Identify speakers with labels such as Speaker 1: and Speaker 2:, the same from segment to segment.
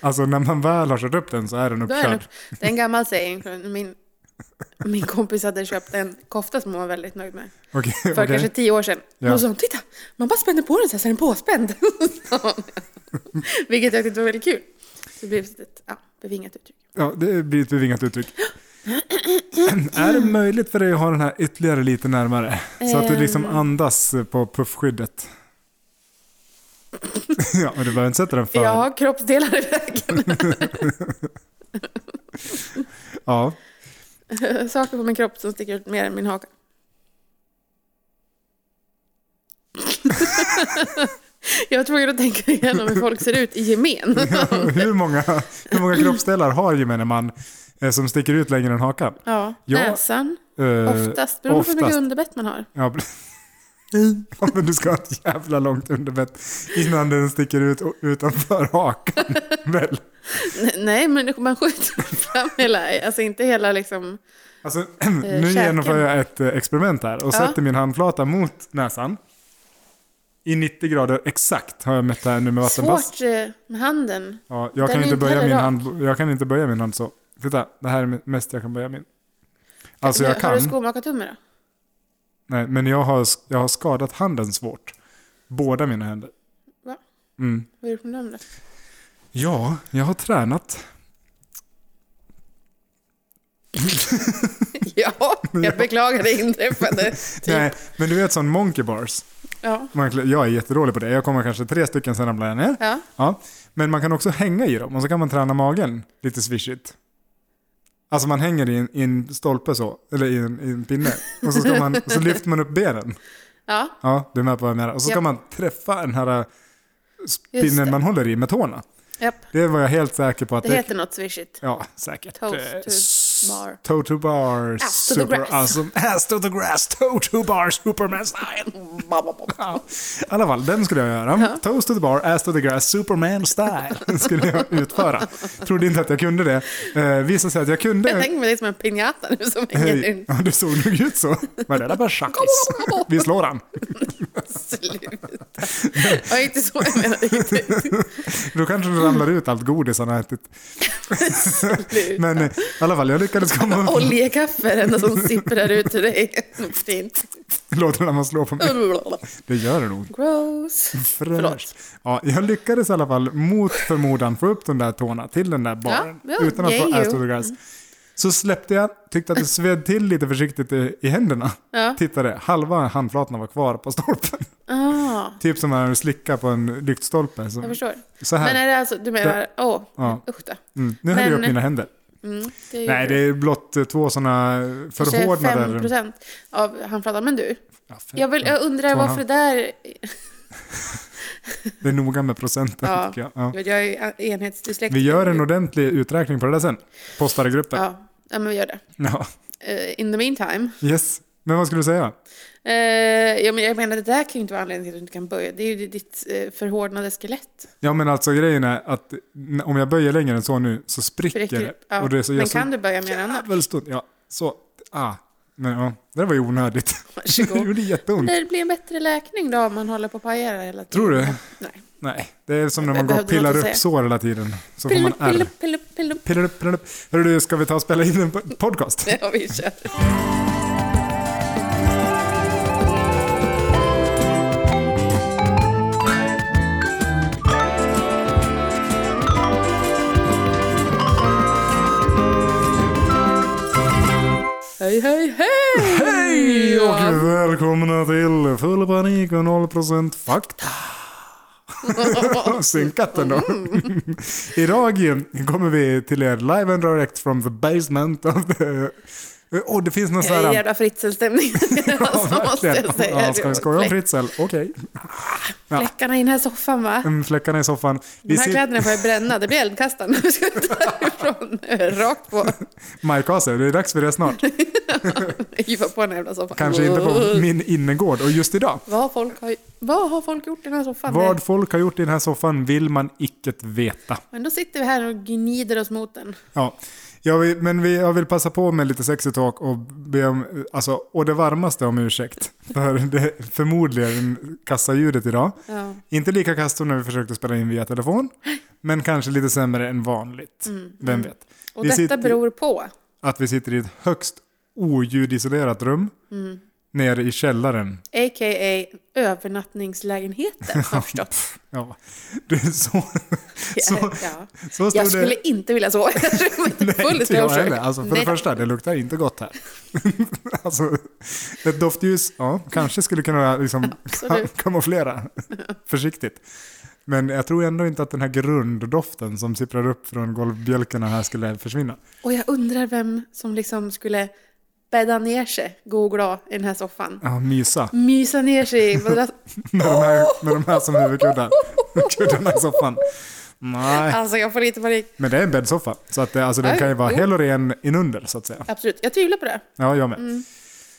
Speaker 1: Alltså när man väl har kört upp den så är den
Speaker 2: Då är den
Speaker 1: uppkörd.
Speaker 2: upp. Det är en gammal saying. från Min, min kompis hade köpt en kofta som hon var väldigt nöjd med.
Speaker 1: Okej,
Speaker 2: För
Speaker 1: okej.
Speaker 2: kanske tio år sedan.
Speaker 1: Ja.
Speaker 2: Hon sa titta, man bara spänner på den så här så är den påspänd. sa hon. Vilket jag tyckte var väldigt kul. Så det blev ett ja, bevingat uttryck.
Speaker 1: Ja, det blir ett bevingat uttryck. är det möjligt för dig att ha den här ytterligare lite närmare? Så att du liksom
Speaker 2: Ehm.
Speaker 1: andas på puffskyddet. ja, men du behöver inte sätta den för...
Speaker 2: Jag har kroppsdelar i vägen.
Speaker 1: ja.
Speaker 2: Saker på min kropp som sticker ut mer än min haka. jag var tvungen att tänka igenom hur folk ser ut i gemen.
Speaker 1: hur, många, hur måga kroppsdelar har gemene man eh, som sticker ut längre än hakan?
Speaker 2: Ja,
Speaker 1: Ja,
Speaker 2: näsan.
Speaker 1: Eh,
Speaker 2: Oftast. Beroende på hur mycket
Speaker 1: oftast.
Speaker 2: underbett man har.
Speaker 1: Ja, pre- Ja, men du ska ha ett jävla långt underbett innan den sticker ut o- utanför hakan. Väl?
Speaker 2: N- Nej, men man skjuter fram hela, alltså inte hela liksom.
Speaker 1: Alltså, nu
Speaker 2: käken.
Speaker 1: genomför jag ett eh, experiment här och
Speaker 2: Ja.
Speaker 1: sätter min handflata mot näsan. I 90 grader exakt har jag mätt det här nu med vattenpass.
Speaker 2: Svårt eh, med handen.
Speaker 1: Ja, jag,
Speaker 2: Den
Speaker 1: kan
Speaker 2: är
Speaker 1: inte
Speaker 2: inte
Speaker 1: böja
Speaker 2: heller
Speaker 1: min
Speaker 2: rak.
Speaker 1: hand, jag kan inte böja min hand så. Titta, det här är mest jag kan böja min. Alltså jag
Speaker 2: Har du
Speaker 1: kan,
Speaker 2: skomakartumme då?
Speaker 1: nej, men jag har, jag har skadat handen svårt. Båda mina händer.
Speaker 2: Va?
Speaker 1: Mm.
Speaker 2: Vad har du gjort med dem då?
Speaker 1: Ja, jag har tränat.
Speaker 2: Ja, jag beklagar det inträffade. Typ.
Speaker 1: Nej, men du vet sån monkey bars.
Speaker 2: Ja.
Speaker 1: Man, klä- jag är jättedålig på det. Jag kommer kanske tre stycken, sen ramlar jag ner.
Speaker 2: ja.
Speaker 1: Ja. Men man kan också hänga i dem och så kan man träna magen lite swishigt. Alltså man hänger i en, i en stolpe så, eller i en, i en pinne. Och så, ska man, och så lyfter man upp benen.
Speaker 2: Ja,
Speaker 1: Ja, du är med på vad jag menar. Och så ska
Speaker 2: Japp.
Speaker 1: man träffa den här äh, s-
Speaker 2: Just
Speaker 1: pinnen
Speaker 2: det.
Speaker 1: man håller i med tårna.
Speaker 2: japp.
Speaker 1: Det var jag helt säker på att
Speaker 2: Det heter något swishigt.
Speaker 1: Ja, säkert.
Speaker 2: Toast
Speaker 1: Eh,
Speaker 2: to
Speaker 1: s-
Speaker 2: bar.
Speaker 1: Toe to bar.
Speaker 2: Ass to the
Speaker 1: super
Speaker 2: grass.
Speaker 1: awesome. Ass to the grass. Toe to bar. Superman style. Ja. I alla fall, den skulle jag göra. Toast to the bar, ass to the grass, Superman style. skulle jag utföra. Trodde inte att jag kunde det. Eh, visade sig att jag
Speaker 2: Jag
Speaker 1: kunde.
Speaker 2: tänker mig det som en pinjata nu som hänger
Speaker 1: Hej.
Speaker 2: runt.
Speaker 1: Ja, det såg nog ut så. Vad är det där för tjackis? Vi slår han.
Speaker 2: Sluta. Det var inte så jag menade. Inte.
Speaker 1: Då kanske det ramlar ut allt godis han har ätit.
Speaker 2: Sluta.
Speaker 1: Men eh, i alla fall, jag lyckades komma upp.
Speaker 2: Oljekaffe är det enda som sipprar ut till dig. Fint.
Speaker 1: Låter när man slår på mig. Det gör det nog.
Speaker 2: Gross.
Speaker 1: Fräscht. Ja, jag lyckades i alla fall mot förmodan få upp de där tårna till den där baren.
Speaker 2: Ja, ja,
Speaker 1: utan att få
Speaker 2: yay you.
Speaker 1: ass to the grass. Så släppte jag, tyckte att det sved till lite försiktigt i, i händerna.
Speaker 2: Ja.
Speaker 1: Tittade, halva handflatorna var kvar på stolpen.
Speaker 2: Ah,
Speaker 1: typ som när du slickar på en lyktstolpe.
Speaker 2: jag
Speaker 1: Så,
Speaker 2: förstår.
Speaker 1: så här.
Speaker 2: Men är det alltså, du menar, åh,
Speaker 1: Ja.
Speaker 2: usch då.
Speaker 1: mm. Nu höll jag upp
Speaker 2: men-
Speaker 1: mina händer.
Speaker 2: Mm, det är
Speaker 1: Nej, det är blott eh, två sådana
Speaker 2: kanske
Speaker 1: förhårdnader.
Speaker 2: 5% av handflatan. Men du,
Speaker 1: Ja, fem-
Speaker 2: jag, vill, jag undrar
Speaker 1: Två och en
Speaker 2: varför det där...
Speaker 1: Det är noga med procenten.
Speaker 2: Ja.
Speaker 1: tycker jag. Ja.
Speaker 2: Jag är ju enhetsdyslektiker.
Speaker 1: Vi gör en ordentlig uträkning på det där sen. Postar i gruppen.
Speaker 2: Ja, ja, men vi gör det.
Speaker 1: Ja.
Speaker 2: Eh, in the meantime.
Speaker 1: Yes. Men vad skulle du säga?
Speaker 2: Uh, ja, men jag menar, det där kan ju inte vara anledningen till att du inte kan böja. Det är ju ditt eh, förhårdnade skelett.
Speaker 1: Ja men alltså grejen är att n- om jag böjer längre än så nu så spricker
Speaker 2: Prickar
Speaker 1: det.
Speaker 2: upp. Ja.
Speaker 1: Och det är så,
Speaker 2: men
Speaker 1: jag så
Speaker 2: kan du böja mer än annars?
Speaker 1: jävla stund. Ja, så. Ah. Men ja, det där var ju onödigt. det
Speaker 2: Varsågod.
Speaker 1: gjorde jätteont.
Speaker 2: Det blir en bättre läkning då om man håller på att paja det hela tiden.
Speaker 1: Tror du?
Speaker 2: Nej.
Speaker 1: Nej, det är som när man
Speaker 2: Jag
Speaker 1: går och
Speaker 2: behövde
Speaker 1: pillar
Speaker 2: något
Speaker 1: upp
Speaker 2: att säga.
Speaker 1: sår hela tiden. Så får man
Speaker 2: Pillup,
Speaker 1: ärr.
Speaker 2: pillup, pillup, pillup.
Speaker 1: Pillar upp, pillar upp. Hörru du, ska vi ta och spela in en po- podcast?
Speaker 2: Ja, vi kör. Hej, hej, hej!
Speaker 1: Hej och välkomna till Full panik och 0% fakta. Synkat ändå.
Speaker 2: Mm.
Speaker 1: Idag kommer vi till er live and direct from the basement of the... Åh, det finns någon sån
Speaker 2: Jag är i
Speaker 1: här...
Speaker 2: jävla fritzelstämning. Alltså, måste jag säga.
Speaker 1: Ja, ska vi skoja om
Speaker 2: Fläck-
Speaker 1: Fritzl? Okej. Ja.
Speaker 2: Fläckarna i den här soffan, va?
Speaker 1: Mm, Fläckarna i soffan. Vi
Speaker 2: De här
Speaker 1: ser
Speaker 2: kläderna får jag bränna, det blir eldkastaren. Vi ska ta härifrån, rakt på.
Speaker 1: Majkase, det är dags för det snart.
Speaker 2: Hiva på den här jävla soffan.
Speaker 1: Kanske inte på min innergård. Och just idag,
Speaker 2: Vad, folk har, vad har folk gjort i den här soffan?
Speaker 1: vad folk har gjort i den här soffan vill man icke veta.
Speaker 2: Men då sitter vi här och gnider oss mot den.
Speaker 1: Ja, jag vill, men vi, jag vill passa på med lite sexy talk och be om, alltså, och det varmaste om ursäkt. För det är förmodligen kassaljudet idag.
Speaker 2: Ja.
Speaker 1: Inte lika kasst som när vi försökte spela in via telefon. Men kanske lite sämre än vanligt.
Speaker 2: Mm,
Speaker 1: Vem vet?
Speaker 2: Och
Speaker 1: Vi
Speaker 2: detta
Speaker 1: sitter-
Speaker 2: beror på.
Speaker 1: Att vi sitter i ett högst oljudisolerat rum.
Speaker 2: Mm.
Speaker 1: Nere i källaren.
Speaker 2: A.k.a. övernattningslägenheten har jag förstått.
Speaker 1: Ja. Det är så, så,
Speaker 2: ja.
Speaker 1: så stod
Speaker 2: Jag
Speaker 1: det.
Speaker 2: skulle inte vilja sova i det här rummet. Full
Speaker 1: inte jag
Speaker 2: disclosure.
Speaker 1: heller. Alltså, för
Speaker 2: Nej.
Speaker 1: det första, det luktar inte gott här. alltså, ett doftljus, ja, kanske skulle kunna liksom ka-
Speaker 2: Absolut.
Speaker 1: kamouflera. Försiktigt. Men jag tror ändå inte att den här grunddoften som sipprar upp från golvbjälkarna här skulle försvinna.
Speaker 2: Och jag undrar vem som liksom skulle bädda ner sig, gå och glad i den här soffan.
Speaker 1: Ja, mysa.
Speaker 2: Mysa ner sig i madrass-
Speaker 1: Med de här, med de här som huvudkuddar. Kuddarna i soffan. Nej,
Speaker 2: Alltså jag får lite panik.
Speaker 1: men det är en bäddsoffa. Så att, det- alltså, den
Speaker 2: Oj,
Speaker 1: kan ju vara
Speaker 2: jo.
Speaker 1: hel och ren inunder, så att säga.
Speaker 2: Absolut, jag tvivlar på det.
Speaker 1: Ja, jag med.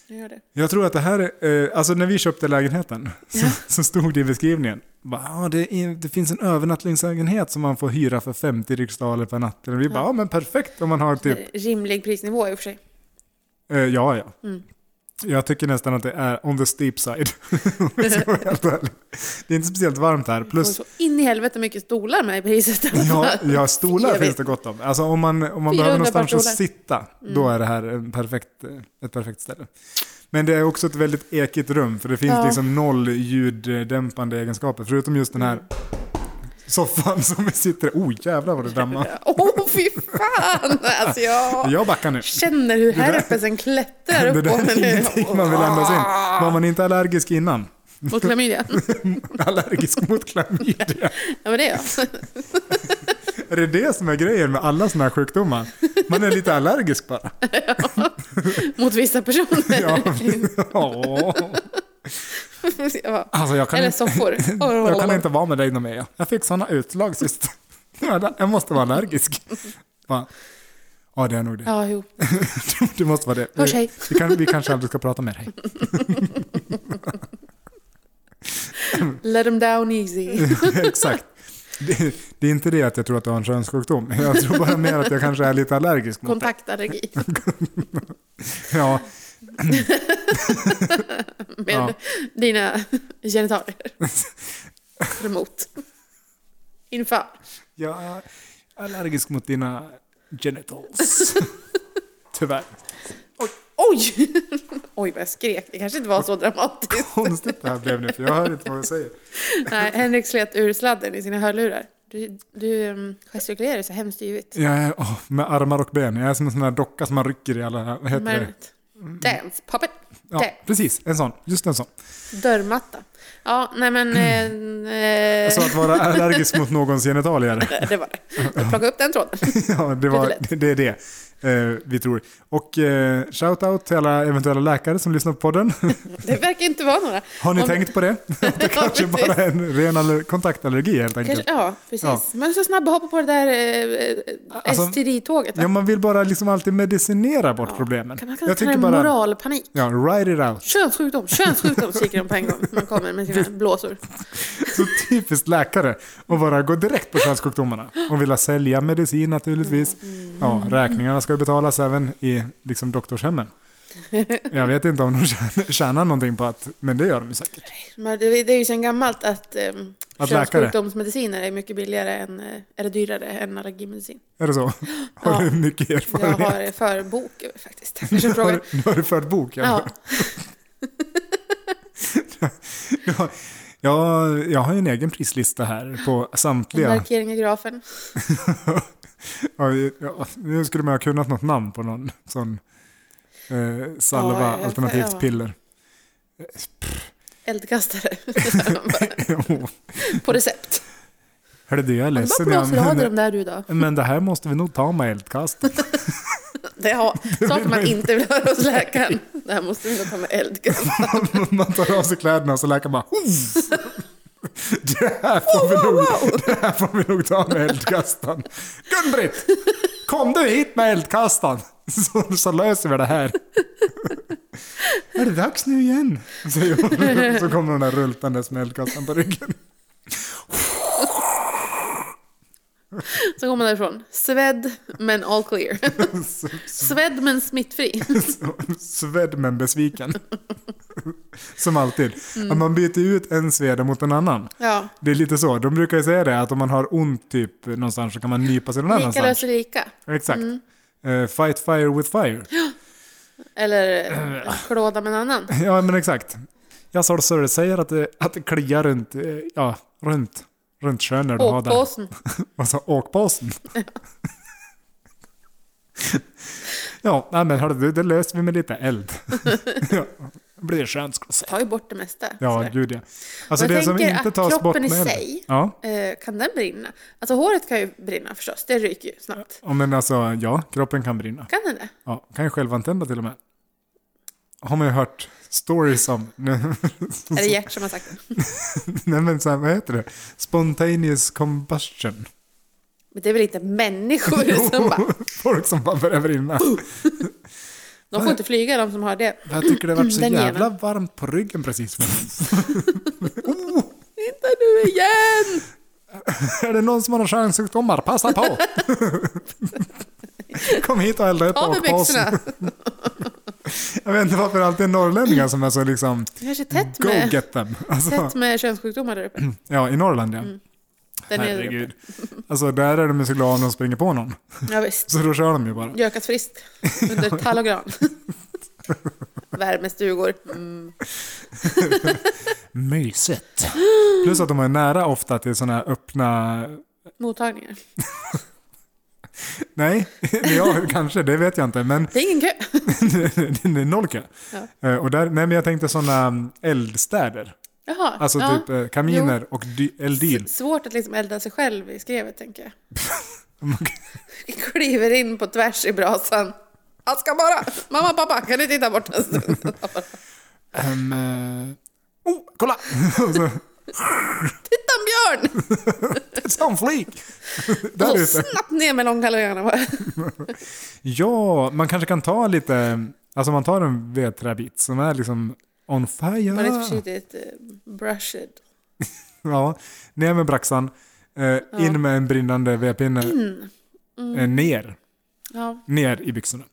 Speaker 2: Jag gör det.
Speaker 1: Jag tror att det här, är, eh, alltså när vi köpte lägenheten så, så stod det i beskrivningen. Bara, ja, det, är, det finns en övernattningslägenhet som man får hyra för 50 riksdaler per natt. Och vi bara, ja men perfekt om man har typ,
Speaker 2: Eh, Rimlig prisnivå i och för sig.
Speaker 1: eh, ja ja. Jag tycker nästan att det är on the steep side. Om jag ska vara helt ärlig. det är inte speciellt varmt här.
Speaker 2: Och
Speaker 1: Plus,
Speaker 2: så in i helvete mycket stolar med i priset.
Speaker 1: ja, ja, stolar
Speaker 2: Evigt.
Speaker 1: finns det gott om. Alltså om man, om man
Speaker 2: 400
Speaker 1: behöver någonstans
Speaker 2: par
Speaker 1: att
Speaker 2: stolar.
Speaker 1: sitta,
Speaker 2: Mm.
Speaker 1: då är det här en perfekt, eh, ett perfekt ställe. Men det är också ett väldigt ekigt rum, för det finns
Speaker 2: Ja.
Speaker 1: liksom noll ljuddämpande egenskaper, förutom just den
Speaker 2: Mm.
Speaker 1: här soffan som vi sitter i. Oh, jävlar vad det dammar.
Speaker 2: Åh oh, fy fan! Alltså jag
Speaker 1: Jag backar nu.
Speaker 2: känner hur herpesen klättrar
Speaker 1: Det
Speaker 2: upp på
Speaker 1: där är
Speaker 2: mig
Speaker 1: ingenting man vill andas in.
Speaker 2: Ah.
Speaker 1: Var man inte allergisk innan?
Speaker 2: nu. Mot klamydia.
Speaker 1: Allergisk mot klamydia.
Speaker 2: Ja men det är jag.
Speaker 1: Är det det som är grejen med alla sådana här sjukdomar? Man är lite allergisk bara.
Speaker 2: Mot vissa personer.
Speaker 1: Ja. Åh.
Speaker 2: Ja.
Speaker 1: Alltså jag kan
Speaker 2: Eller
Speaker 1: inte-
Speaker 2: soffor.
Speaker 1: Jag kan inte vara med dig någon mer. Jag fick sådana utslag sist. Ja, Jag måste vara allergisk. Va? Ja, det är nog det.
Speaker 2: Ja, jo.
Speaker 1: Det måste vara det.
Speaker 2: Hörs, hej.
Speaker 1: Vi, vi, kan, vi kanske aldrig ska prata med dig.
Speaker 2: Let them down easy.
Speaker 1: Exakt. Det, det är inte det att jag tror att du har en könssjukdom. Jag tror bara mer att jag kanske är lite allergisk mot dig.
Speaker 2: Kontaktallergi.
Speaker 1: Ja,
Speaker 2: Med
Speaker 1: Ja.
Speaker 2: dina genitalier. Emot. Inför.
Speaker 1: jag är allergisk mot dina genitals. Tyvärr.
Speaker 2: Oj! Oj, vad jag skrek. Det kanske inte var så dramatiskt.
Speaker 1: Konstigt det här blev nu, för jag hör inte vad jag säger.
Speaker 2: Nej, Henrik slet ur sladden i sina hörlurar. Du, du um, gestikulerar så hemskt yvigt.
Speaker 1: Jag är, åh, med armar och ben. Jag är som en sån här docka som man rycker i alla... Vad heter det?
Speaker 2: Marionett. Dance, puppet,
Speaker 1: Ja, precis. En sån. Just en sån.
Speaker 2: dörrmatta. Ja, nej men... eh,
Speaker 1: Alltså att vara allergisk mot någons genitalier.
Speaker 2: Eh, det var det. Jag plockade upp den tråden.
Speaker 1: Ja, det, var, det är det eh, vi tror. Och eh, shout-out till alla eventuella läkare som lyssnar på podden.
Speaker 2: Det verkar inte vara några.
Speaker 1: Har ni
Speaker 2: Om-
Speaker 1: tänkt på det? Att det kanske
Speaker 2: precis.
Speaker 1: bara är en ren aller- kontaktallergi helt
Speaker 2: Kanske,
Speaker 1: enkelt.
Speaker 2: ja, precis.
Speaker 1: Ja.
Speaker 2: Man är så snabb att hoppa på det där eh,
Speaker 1: Alltså,
Speaker 2: STD-tåget. va?
Speaker 1: Ja, man vill bara liksom alltid medicinera bort problemen.
Speaker 2: kan man kalla
Speaker 1: Jag
Speaker 2: det här
Speaker 1: tycker
Speaker 2: bara...
Speaker 1: bara...
Speaker 2: moralpanik?
Speaker 1: Ja, ride it out.
Speaker 2: Könssjukdom, könssjukdom skriker de på en gång när de kommer med sina blåsor.
Speaker 1: Så typiskt läkare att bara gå direkt på könssjukdomarna och vilja sälja medicin naturligtvis. Ja,
Speaker 2: Mm.
Speaker 1: räkningarna ska ju betalas även i liksom, doktorshemmen. Jag vet inte om de tjänar- tjänar någonting på att, men det gör de ju säkert.
Speaker 2: Men det, det är ju sedan gammalt att, eh,
Speaker 1: Att läkare-
Speaker 2: könssjukdomsmediciner är mycket billigare än, eh, eller dyrare än allergimedicin.
Speaker 1: Är det så? Har du mycket
Speaker 2: Jag
Speaker 1: erfarenhet?
Speaker 2: har för bok över faktiskt. Jag kanske
Speaker 1: Nu har,
Speaker 2: frågar.
Speaker 1: du- nu har du fört bok? Ja.
Speaker 2: Ja,
Speaker 1: Ja, jag, jag har ju en egen prislista här på
Speaker 2: en
Speaker 1: samtliga.
Speaker 2: markering i grafen.
Speaker 1: Ja, ja, nu skulle man ha kunnat något namn på någon sån eh, salva,
Speaker 2: Ja, jag-
Speaker 1: alternativt
Speaker 2: ja.
Speaker 1: piller.
Speaker 2: Eldkastare.
Speaker 1: Jo.
Speaker 2: på recept.
Speaker 1: Hörru du, jag är
Speaker 2: Vad
Speaker 1: ledsen.
Speaker 2: blåser du
Speaker 1: jag-
Speaker 2: av
Speaker 1: men-
Speaker 2: dig de där du då?
Speaker 1: Men det här måste vi nog ta med eldkast.
Speaker 2: Det har, saker
Speaker 1: man
Speaker 2: man inte vill höra hos läkaren. Det här måste vi nog ta med eldkastare.
Speaker 1: Man tar av sig kläderna och så läkaren bara... "Oof." Det här, får vi nog, det här får vi nog ta med eldkastaren. Gun-Britt! Kom du hit med eldkastaren så, så löser vi det här. Är det dags nu igen? Säger hon. Så kommer hon där rultandes med eldkastaren på ryggen.
Speaker 2: Så går man därifrån. Svedd men all clear. Svedd men smittfri.
Speaker 1: Så- Svedd men besviken. Som alltid.
Speaker 2: Mm.
Speaker 1: Att man byter ut en sveda mot en annan.
Speaker 2: Ja.
Speaker 1: Det är lite så. De brukar ju säga det, att om man har ont typ någonstans så kan man nypa sig någon
Speaker 2: Lika Mm.
Speaker 1: annanstans.
Speaker 2: löser lika.
Speaker 1: Exakt. Eh, fight fire with fire.
Speaker 2: Eller eh, klåda med en annan.
Speaker 1: Ja, men exakt. Jag sa det säger att det, att det kliar runt, eh, ja, runt, runt kön när du har den.
Speaker 2: Åkpåsen.
Speaker 1: Alltså åkpåsen. ja, nej, men hörru du, det löser vi med lite eld. ja, det blir skönt ska jag säga.
Speaker 2: Tar ju bort det mesta.
Speaker 1: Ja,
Speaker 2: sådär.
Speaker 1: gud ja. Alltså
Speaker 2: Och jag
Speaker 1: det som
Speaker 2: tänker
Speaker 1: inte
Speaker 2: att
Speaker 1: tas bort
Speaker 2: kroppen
Speaker 1: med
Speaker 2: i
Speaker 1: elden.
Speaker 2: sig-
Speaker 1: Ja,
Speaker 2: Eh, kan den brinna? Alltså håret kan ju brinna förstås, det ryker ju snabbt.
Speaker 1: ja, men alltså ja, kroppen kan brinna.
Speaker 2: Kan den det?
Speaker 1: Ja, kan ju självantända till och med. Har man ju hört stories om.
Speaker 2: Är det Gert som har sagt det?
Speaker 1: Nej men så här, vad heter det? Spontaneous combustion.
Speaker 2: Men det är väl inte människor som bara...
Speaker 1: Folk som bara börjar brinna.
Speaker 2: De får inte flyga de som har det.
Speaker 1: Jag tycker det har varit så
Speaker 2: Den jäveln.
Speaker 1: jävla varmt på ryggen precis. oh,
Speaker 2: Inte nu igen!
Speaker 1: är det någon som har någon kärlsjukdomar? Passa på! Kom hit och elda upp
Speaker 2: Av med
Speaker 1: bakpåsen.
Speaker 2: byxorna!
Speaker 1: Jag vet inte varför det alltid är norrlänningar som är så liksom
Speaker 2: Det kanske är tätt
Speaker 1: Go
Speaker 2: med,
Speaker 1: get them. Alltså,
Speaker 2: tätt med könssjukdomar där uppe.
Speaker 1: ja, i Norrland ja.
Speaker 2: Mm, Där nere.
Speaker 1: Herregud. Alltså där är de ju så glada om de springer på någon.
Speaker 2: Ja, visst.
Speaker 1: Så då kör de ju bara.
Speaker 2: Gökat friskt under tall och gran. Värmestugor. Mm.
Speaker 1: Mysigt. Plus att de är nära ofta till sådana här öppna
Speaker 2: Mottagningar.
Speaker 1: Nej, ja, kanske, det vet jag inte. Men
Speaker 2: Det är ingen kö.
Speaker 1: det är noll kö.
Speaker 2: Ja.
Speaker 1: Eh, Och där, nej, men jag tänkte sådana eldstäder.
Speaker 2: Jaha.
Speaker 1: Alltså
Speaker 2: ja.
Speaker 1: typ eh, kaminer och dy- eldin.
Speaker 2: Svårt att liksom elda sig själv i skrevet, tänker jag. Kliver in på tvärs i brasan. Jag ska bara... Mamma, pappa, kan ni titta bort en stund?
Speaker 1: Ehm, eh, oh, kolla! Och så,
Speaker 2: Titta en björn!
Speaker 1: Som flik!
Speaker 2: Och
Speaker 1: Där
Speaker 2: så
Speaker 1: ute.
Speaker 2: snabbt ner med långkallingarna bara.
Speaker 1: Ja, man kanske kan ta lite, alltså man tar en vedträbit som är liksom on fire.
Speaker 2: Var lite försiktigt eh, brushed.
Speaker 1: Ja, ner med braxan, eh, in med en brinnande vedpinne.
Speaker 2: Mm.
Speaker 1: Eh, ner,
Speaker 2: Ja.
Speaker 1: ner i byxorna.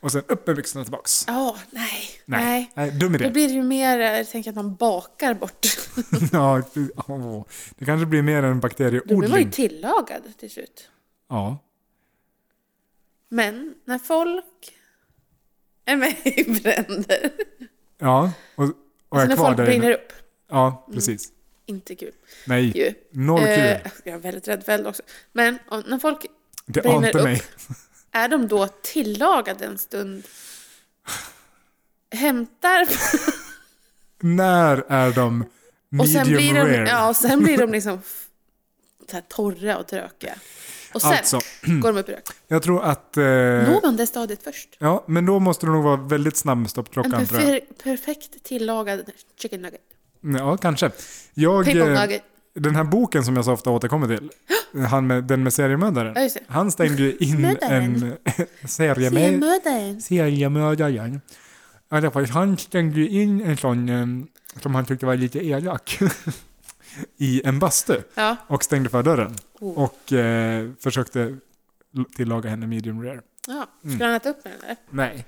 Speaker 1: Och sen upp med byxorna tillbaks.
Speaker 2: Ja, nej.
Speaker 1: Nej,
Speaker 2: Nej.
Speaker 1: nej. dum
Speaker 2: Då
Speaker 1: idé.
Speaker 2: blir det ju mer, eh, jag tänker att man bakar bort.
Speaker 1: ja, åh. det kanske blir mer en
Speaker 2: Då blir man ju
Speaker 1: bakterieodling.
Speaker 2: tillagad till slut.
Speaker 1: Ja.
Speaker 2: Men när folk är med i bränder.
Speaker 1: ja, och, och
Speaker 2: Alltså
Speaker 1: jag är
Speaker 2: när
Speaker 1: kvar
Speaker 2: folk
Speaker 1: där
Speaker 2: brinner
Speaker 1: inne.
Speaker 2: upp.
Speaker 1: Ja, precis.
Speaker 2: Inte kul
Speaker 1: Nej,
Speaker 2: ju.
Speaker 1: noll
Speaker 2: Eh,
Speaker 1: kul.
Speaker 2: jag är väldigt rädd för eld också. Men om, när folk,
Speaker 1: Det
Speaker 2: brinner
Speaker 1: ante
Speaker 2: upp.
Speaker 1: mig.
Speaker 2: är de då tillagade en stund? Hämtar
Speaker 1: När är de
Speaker 2: och sen blir
Speaker 1: medium
Speaker 2: de,
Speaker 1: rare?
Speaker 2: ja, och sen blir de liksom f- så här torra och trökiga. Och sen
Speaker 1: Alltså,
Speaker 2: går de upp i rök.
Speaker 1: jag tror att... Eh,
Speaker 2: Når man det stadiet först?
Speaker 1: Ja, men då måste du nog vara väldigt snabb med
Speaker 2: En
Speaker 1: stoppklockan tror jag.
Speaker 2: perfer, perfekt tillagad chicken nugget.
Speaker 1: Ja, kanske. Jag,
Speaker 2: People
Speaker 1: eh,
Speaker 2: nugget.
Speaker 1: den här boken som jag så ofta återkommer till, han med, den med
Speaker 2: Ja,
Speaker 1: seriemördaren.
Speaker 2: just det.
Speaker 1: Han stängde ju in en
Speaker 2: Mördaren.
Speaker 1: seriemördare.
Speaker 2: Seriemördaren.
Speaker 1: seriemördaren. I alla fall, han stängde ju in en sån em, som han tyckte var lite elak i en bastu
Speaker 2: Ja.
Speaker 1: och stängde för dörren
Speaker 2: Oh.
Speaker 1: och eh, försökte l- tillaga henne medium rare.
Speaker 2: ja. Skulle han äta upp den eller?
Speaker 1: Nej. Mm.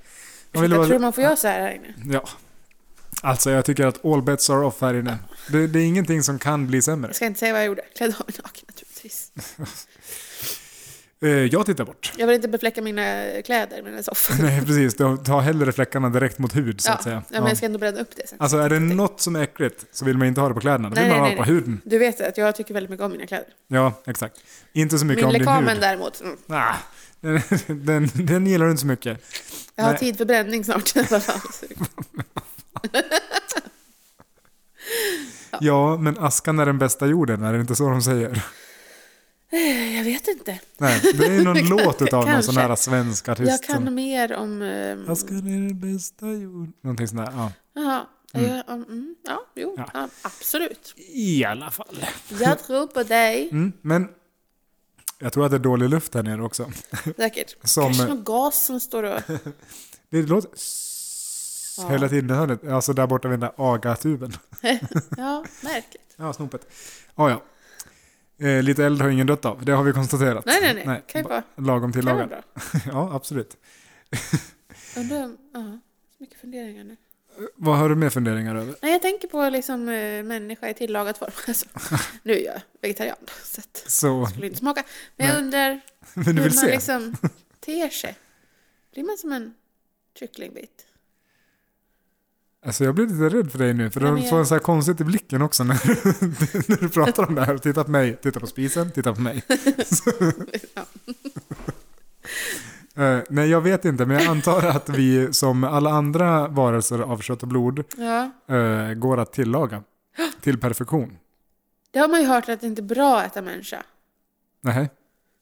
Speaker 1: Jag ville
Speaker 2: Jag tror
Speaker 1: bara,
Speaker 2: man får göra så här här inne.
Speaker 1: ja. Alltså jag tycker att all bets are off här inne. Det, det är ingenting som kan bli sämre.
Speaker 2: Jag ska inte säga vad jag gjorde. Klädde av mig naken naturligtvis.
Speaker 1: Eh, jag tittar bort.
Speaker 2: Jag vill inte befläcka mina kläder med den här soffan.
Speaker 1: Nej precis, ta ta hellre fläckarna direkt mot hud så
Speaker 2: Ja,
Speaker 1: att säga.
Speaker 2: ja, men jag ska ändå bredda upp det sen.
Speaker 1: Alltså är det något som är äckligt så vill man inte ha det på kläderna, då
Speaker 2: Nej,
Speaker 1: vill man
Speaker 2: nej,
Speaker 1: ha det
Speaker 2: nej,
Speaker 1: på
Speaker 2: nej.
Speaker 1: huden.
Speaker 2: Du vet att jag tycker väldigt mycket om mina kläder.
Speaker 1: Ja, exakt. Inte så mycket
Speaker 2: Min
Speaker 1: om din hud.
Speaker 2: lekamen däremot, mm.
Speaker 1: Ah, den, den, den gillar du inte så mycket.
Speaker 2: jag har
Speaker 1: Nej.
Speaker 2: tid för bränning snart i alla fall. Så-
Speaker 1: Ja, men askan är den bästa jorden, är det inte så de säger?
Speaker 2: Jag vet inte.
Speaker 1: Nej, det är ju någon låt utav någon
Speaker 2: Kanske.
Speaker 1: sån här svensk artist.
Speaker 2: Jag kan
Speaker 1: som,
Speaker 2: mer om... ehm,
Speaker 1: askan är den bästa jorden. Någonting sånt där, ja.
Speaker 2: Jaha. Jag, om- mm, ja, jo,
Speaker 1: Ja.
Speaker 2: ja. absolut.
Speaker 1: I alla fall.
Speaker 2: Jag tror på dig.
Speaker 1: Mm, men jag tror att det är dålig luft här nere också.
Speaker 2: Säkert.
Speaker 1: Som- eh,
Speaker 2: Kanske någon gas som står och...
Speaker 1: Det låter
Speaker 2: Ja.
Speaker 1: hela tiden i hörnet, alltså där borta vid den där agatuben.
Speaker 2: Ja, märkligt.
Speaker 1: Ja, snopet. Ah, Ja, ja. Eh, lite eld har ingen dött av, det har vi konstaterat.
Speaker 2: Nej, nej, nej. Kan ju
Speaker 1: ba-
Speaker 2: vara,
Speaker 1: Lagom
Speaker 2: kan vara
Speaker 1: tillagad.
Speaker 2: bra.
Speaker 1: Ja, absolut.
Speaker 2: Undrar om... Ja, så mycket funderingar nu.
Speaker 1: Vad har du mer funderingar över?
Speaker 2: Nej, jag tänker på liksom eh, människa i tillagad form. Alltså, nu är jag vegetarian, så att,
Speaker 1: Så,
Speaker 2: skulle inte smaka. Men jag
Speaker 1: Nej.
Speaker 2: undrar
Speaker 1: men du
Speaker 2: hur man
Speaker 1: vill se?
Speaker 2: liksom ter sig. Blir man som en kycklingbit?
Speaker 1: Alltså jag blir lite rädd för dig nu, för
Speaker 2: Nej,
Speaker 1: du
Speaker 2: men jag-
Speaker 1: får en så här konstigt i blicken också när, när du pratar om det här. Titta på mig, titta på spisen, titta på mig.
Speaker 2: Ja.
Speaker 1: Eh, nej, jag vet inte, men jag antar att vi som alla andra varelser av kött och blod
Speaker 2: ja.
Speaker 1: eh, går att tillaga till perfektion.
Speaker 2: Det har man ju hört att det inte är bra att äta människa.
Speaker 1: Nej,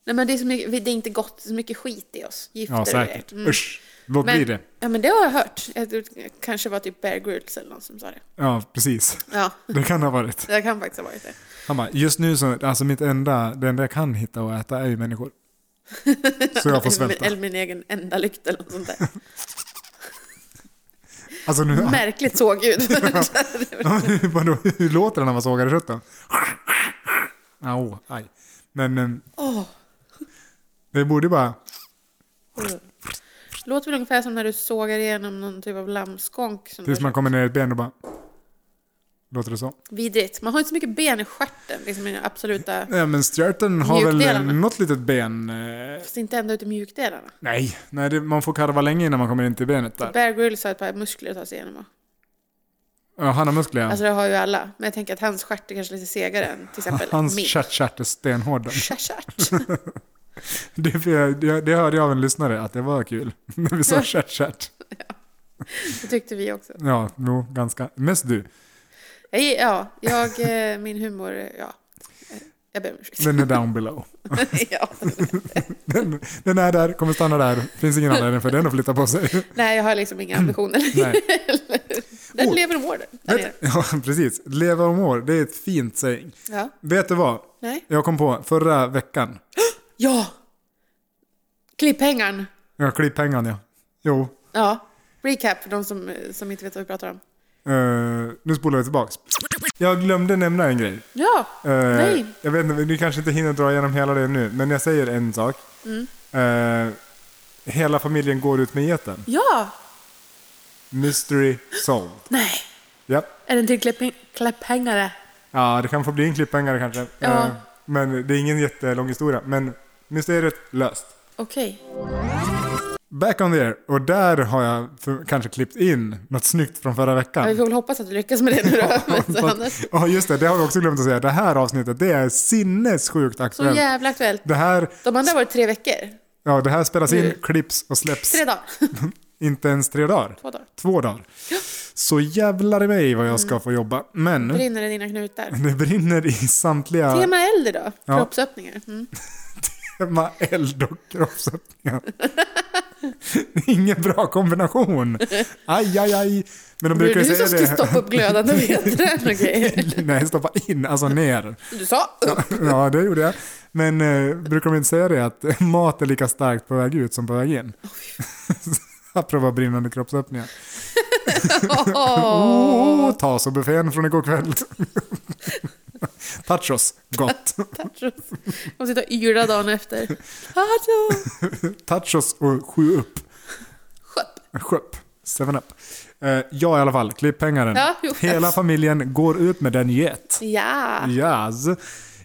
Speaker 2: Nej, men det är, så mycket, det är inte gott, det är så mycket skit i oss. Gifter
Speaker 1: ja
Speaker 2: och
Speaker 1: säkert.
Speaker 2: grejer. Mm.
Speaker 1: Usch, låt
Speaker 2: Men-
Speaker 1: bli det.
Speaker 2: Ja, men det har jag hört. Jag tror det kanske var typ Bear Grylls eller någon som sa det.
Speaker 1: Ja, precis.
Speaker 2: Ja,
Speaker 1: Det kan ha varit.
Speaker 2: det kan faktiskt ha varit det.
Speaker 1: Han bara, just nu så, alltså mitt enda, det enda jag kan hitta och äta är ju människor. Så jag får svälta.
Speaker 2: Eller min egen enda lykt eller något sånt där.
Speaker 1: Alltså nu,
Speaker 2: Märkligt sågljud.
Speaker 1: vadå, hur låter det när man sågar i köttet? Au, aj. Men eh,
Speaker 2: Åh.
Speaker 1: det borde ju bara,
Speaker 2: Låter väl ungefär som när du sågar igenom någon typ av lammskonk. Som
Speaker 1: tills man kommer ner i ett ben och bara, låter det så?
Speaker 2: Vidrigt. Man har inte så mycket ben i stjärten. Liksom i den absoluta...
Speaker 1: Nej men stjärten har väl eh,
Speaker 2: Mjukdelarna.
Speaker 1: något litet ben? eh,
Speaker 2: Fast inte ända ut i mjukdelarna.
Speaker 1: Nej, nej det, man får karva länge innan man kommer in till benet där.
Speaker 2: Bear Grylls har ett par muskler att ta sig igenom.
Speaker 1: Ja, han har muskler ja.
Speaker 2: Alltså det har ju alla. Men jag tänker att hans stjärt är kanske lite segare än till exempel
Speaker 1: Hans
Speaker 2: min.
Speaker 1: stjärtkärrt är stenhård.
Speaker 2: Stjärt.
Speaker 1: Det, det, det hörde jag av en lyssnare att det var kul. När vi sa
Speaker 2: Ja.
Speaker 1: stjärtkärrt.
Speaker 2: Det tyckte vi också.
Speaker 1: Ja, nog ganska. Mest du.
Speaker 2: Jag, ja, jag, eh, min humor, ja. Jag ber om ursäkt.
Speaker 1: Den är down below.
Speaker 2: ja.
Speaker 1: Den, den är där, kommer stanna där. Finns ingen anledning för den att flytta på sig.
Speaker 2: Nej, jag har liksom inga ambitioner.
Speaker 1: Nej.
Speaker 2: Den
Speaker 1: Oh.
Speaker 2: lever och mår den. där nere.
Speaker 1: Vet, ja, precis. Leva och må, det är ett fint saying.
Speaker 2: Ja.
Speaker 1: Vet du vad?
Speaker 2: Nej.
Speaker 1: Jag kom på förra veckan.
Speaker 2: Ja! Klipphängaren.
Speaker 1: Ja, klipphängaren ja. Jo.
Speaker 2: Ja. Recap för de som, eh, som inte vet vad vi pratar om.
Speaker 1: eh, nu spolar vi tillbaks. Jag glömde nämna en grej.
Speaker 2: Ja!
Speaker 1: Eh,
Speaker 2: Nej.
Speaker 1: Jag vet inte, ni kanske inte hinner dra igenom hela det nu, men jag säger en sak.
Speaker 2: Mm.
Speaker 1: Eh, hela familjen går ut med geten.
Speaker 2: Ja!
Speaker 1: Mystery solved.
Speaker 2: Nej.
Speaker 1: Ja.
Speaker 2: Är den till klipphäng- klipphängare?
Speaker 1: ja, det kan få bli en klipphängare kanske. Eh,
Speaker 2: Ja.
Speaker 1: men det är ingen jättelång historia. Men mysteriet löst.
Speaker 2: Okej.
Speaker 1: Back on the air. Och där har jag för, kanske klippt in något snyggt från förra
Speaker 2: Ja, Vi
Speaker 1: veckan.
Speaker 2: får väl hoppas att du lyckas med det nu då. Men annars-
Speaker 1: Ja, just det. Det har vi också glömt att säga. Det här avsnittet, det är sinnessjukt
Speaker 2: Så
Speaker 1: aktuellt.
Speaker 2: jävla aktuellt.
Speaker 1: Det här,
Speaker 2: De andra har varit tre veckor.
Speaker 1: ja, det här spelas in,
Speaker 2: Mm.
Speaker 1: klipps och släpps
Speaker 2: Tre dagar.
Speaker 1: inte ens tre dagar.
Speaker 2: Två dagar.
Speaker 1: Två dagar. Så jävlar i mig vad jag ska få jobba. Men
Speaker 2: Mm. Brinner det i dina knutar?
Speaker 1: det brinner i samtliga
Speaker 2: Tema eld idag.
Speaker 1: Ja.
Speaker 2: Kroppsöppningar. Mm.
Speaker 1: tema eld och kroppsöppningar. Ingen bra kombination. Aj, aj, aj. Men de
Speaker 2: Du
Speaker 1: brukar
Speaker 2: du
Speaker 1: ju
Speaker 2: som
Speaker 1: säga
Speaker 2: skulle
Speaker 1: det.
Speaker 2: stoppa upp glödande vedträn och grejer.
Speaker 1: Nej, stoppa in, alltså ner.
Speaker 2: Du sa upp.
Speaker 1: Ja, det gjorde jag. Men eh, brukar de inte säga det att mat är lika starkt på väg ut som på väg in? Apropå brinnande kroppsöppningar. Åh, tasobuffén från igår kväll. Tachos, gott.
Speaker 2: Tachos. De sitter och yrar dagen efter. Tachos!
Speaker 1: Tachos och sju upp.
Speaker 2: Sköpp.
Speaker 1: Sköpp. Seven up. Eh, ja, i alla fall. Klipphängaren.
Speaker 2: Ja, jo.
Speaker 1: Hela familjen går ut med den get.
Speaker 2: Ja.
Speaker 1: Yes.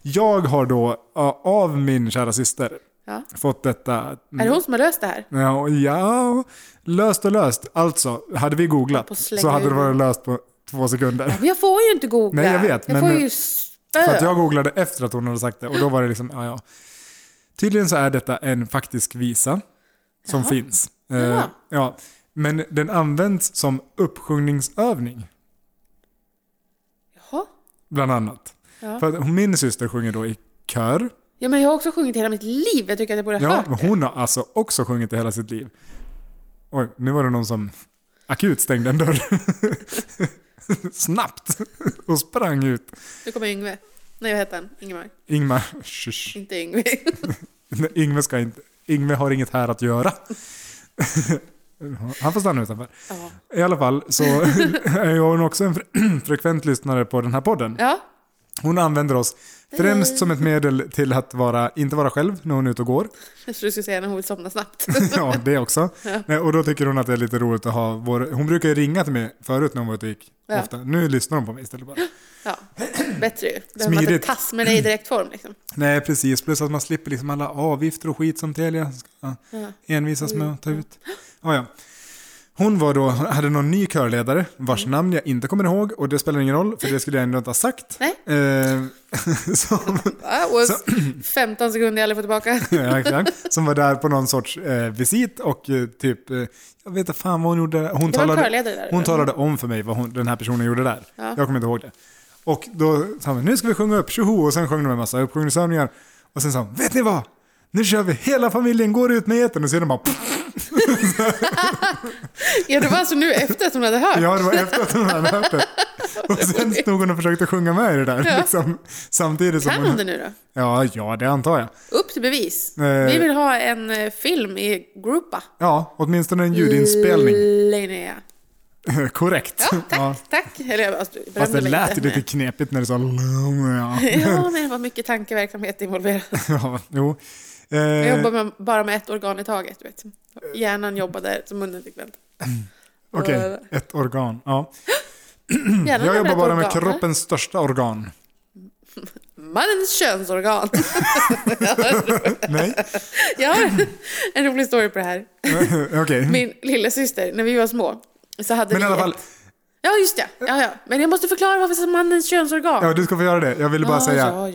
Speaker 1: Jag har då ja, av min kära syster
Speaker 2: ja.
Speaker 1: fått detta.
Speaker 2: Är det hon som har löst det här?
Speaker 1: Ja, ja, löst och löst. Alltså, hade vi
Speaker 2: På
Speaker 1: googlat
Speaker 2: slänga
Speaker 1: så hade det
Speaker 2: ur.
Speaker 1: varit löst på två sekunder.
Speaker 2: Men jag får ju inte googla.
Speaker 1: Nej, jag vet,
Speaker 2: Jag
Speaker 1: men-
Speaker 2: får ju
Speaker 1: För att
Speaker 2: spö.
Speaker 1: jag googlade efter att hon hade sagt det och då var det liksom, ja ja. Tydligen så är detta en faktisk visa som finns. Eh,
Speaker 2: Jaha.
Speaker 1: ja. Men den används som uppsjungningsövning,
Speaker 2: Jaha.
Speaker 1: bland annat.
Speaker 2: Ja.
Speaker 1: För att min syster sjunger då i kör.
Speaker 2: ja, men jag har också sjungit hela mitt liv. Jag tycker att jag borde ha
Speaker 1: Ja,
Speaker 2: hört
Speaker 1: men hon har alltså också sjungit i hela sitt liv. Oj, nu var det någon som akut stängde en dörr. Snabbt! Och sprang ut.
Speaker 2: Nu kommer Yngve. Nej, vad heter han? Ingemar.
Speaker 1: Ingmar, shush.
Speaker 2: Inte Yngve.
Speaker 1: Nej, Yngve ska inte. Yngve har inget här att göra. Han får stanna utanför.
Speaker 2: Ja.
Speaker 1: I alla fall så är hon också en fre- frekvent lyssnare på den här podden.
Speaker 2: ja.
Speaker 1: Hon använder oss främst som ett medel till att vara, inte vara själv när hon är ute och går.
Speaker 2: Jag trodde du skulle säga när hon vill somna snabbt.
Speaker 1: ja, det också. Nej, och då tycker hon att det är lite roligt att ha vår... Hon brukar ju ringa till mig förut när hon var ute och gick.
Speaker 2: Ja.
Speaker 1: Ofta. Nu lyssnar hon på mig istället bara.
Speaker 2: Ja, bättre ju. Behöver man inte
Speaker 1: Smidigt.
Speaker 2: tass med dig i direkt form liksom.
Speaker 1: Nej, precis. Plus att man slipper liksom alla avgifter och skit som Telia ska envisas med att ta ut. Ah, Ja, ja. Hon var då, hade någon ny körledare vars
Speaker 2: Mm.
Speaker 1: namn jag inte kommer ihåg och det spelar ingen roll för det skulle jag ändå inte ha sagt.
Speaker 2: Nej.
Speaker 1: Eh, som,
Speaker 2: Ja, och 15 sekunder jag aldrig får tillbaka.
Speaker 1: Ja, exakt. som var där på någon sorts eh, visit och eh, typ, eh, jag vet inte fan vad hon gjorde. där. Hon
Speaker 2: Det var en
Speaker 1: talade,
Speaker 2: körledare där.
Speaker 1: hon talade om för mig vad hon, den här personen gjorde där.
Speaker 2: Ja.
Speaker 1: Jag kommer inte ihåg det. Och då sa hon, nu ska vi sjunga upp, tjoho! Och sen sjöng de en massa uppsjungningsövningar. Och sen sa hon, vet ni vad? Nu kör vi, hela familjen går ut med etern och så är de bara pff.
Speaker 2: Ja, det var alltså nu efter att hon hade hört.
Speaker 1: Ja, det var efter att de hade hört det. Och sen stod hon och försökte sjunga med i det där.
Speaker 2: Ja.
Speaker 1: Liksom, samtidigt som
Speaker 2: Kan hon det nu då?
Speaker 1: Ja, ja, det antar jag.
Speaker 2: Upp till bevis.
Speaker 1: Eh.
Speaker 2: Vi vill ha en eh, film i Groupa.
Speaker 1: Ja, åtminstone en ljudinspelning.
Speaker 2: Linnea.
Speaker 1: Korrekt.
Speaker 2: Mm. Ja, tack,
Speaker 1: Ja.
Speaker 2: tack. Eller jag alltså, jag
Speaker 1: Fast det
Speaker 2: brände mig
Speaker 1: lät
Speaker 2: lite,
Speaker 1: ju lite
Speaker 2: men-
Speaker 1: knepigt när du sa ja.
Speaker 2: Ja, men det var mycket tankeverksamhet involverad.
Speaker 1: ja, jo. Eh,
Speaker 2: Jag jobbar med, bara med ett organ i taget. du Vet. Hjärnan jobbade som munnen fick vänta.
Speaker 1: Okej, ett organ. Ja.
Speaker 2: Hjärnan
Speaker 1: Mm. Jag
Speaker 2: har
Speaker 1: jobbar
Speaker 2: ett
Speaker 1: bara med
Speaker 2: organ, eller?
Speaker 1: kroppens största organ.
Speaker 2: Mannens könsorgan.
Speaker 1: Nej,
Speaker 2: Jag har en rolig story på det
Speaker 1: Mm.
Speaker 2: här.
Speaker 1: okej.
Speaker 2: Min lilla syster, när vi var små, så hade
Speaker 1: Men i
Speaker 2: vi
Speaker 1: alla fall,
Speaker 2: Ett... Ja, just det. Ja, ja. Men jag måste förklara varför det är mannens könsorgan.
Speaker 1: ja, du ska få göra det. Jag ville bara
Speaker 2: Ja,
Speaker 1: säga,
Speaker 2: Ja,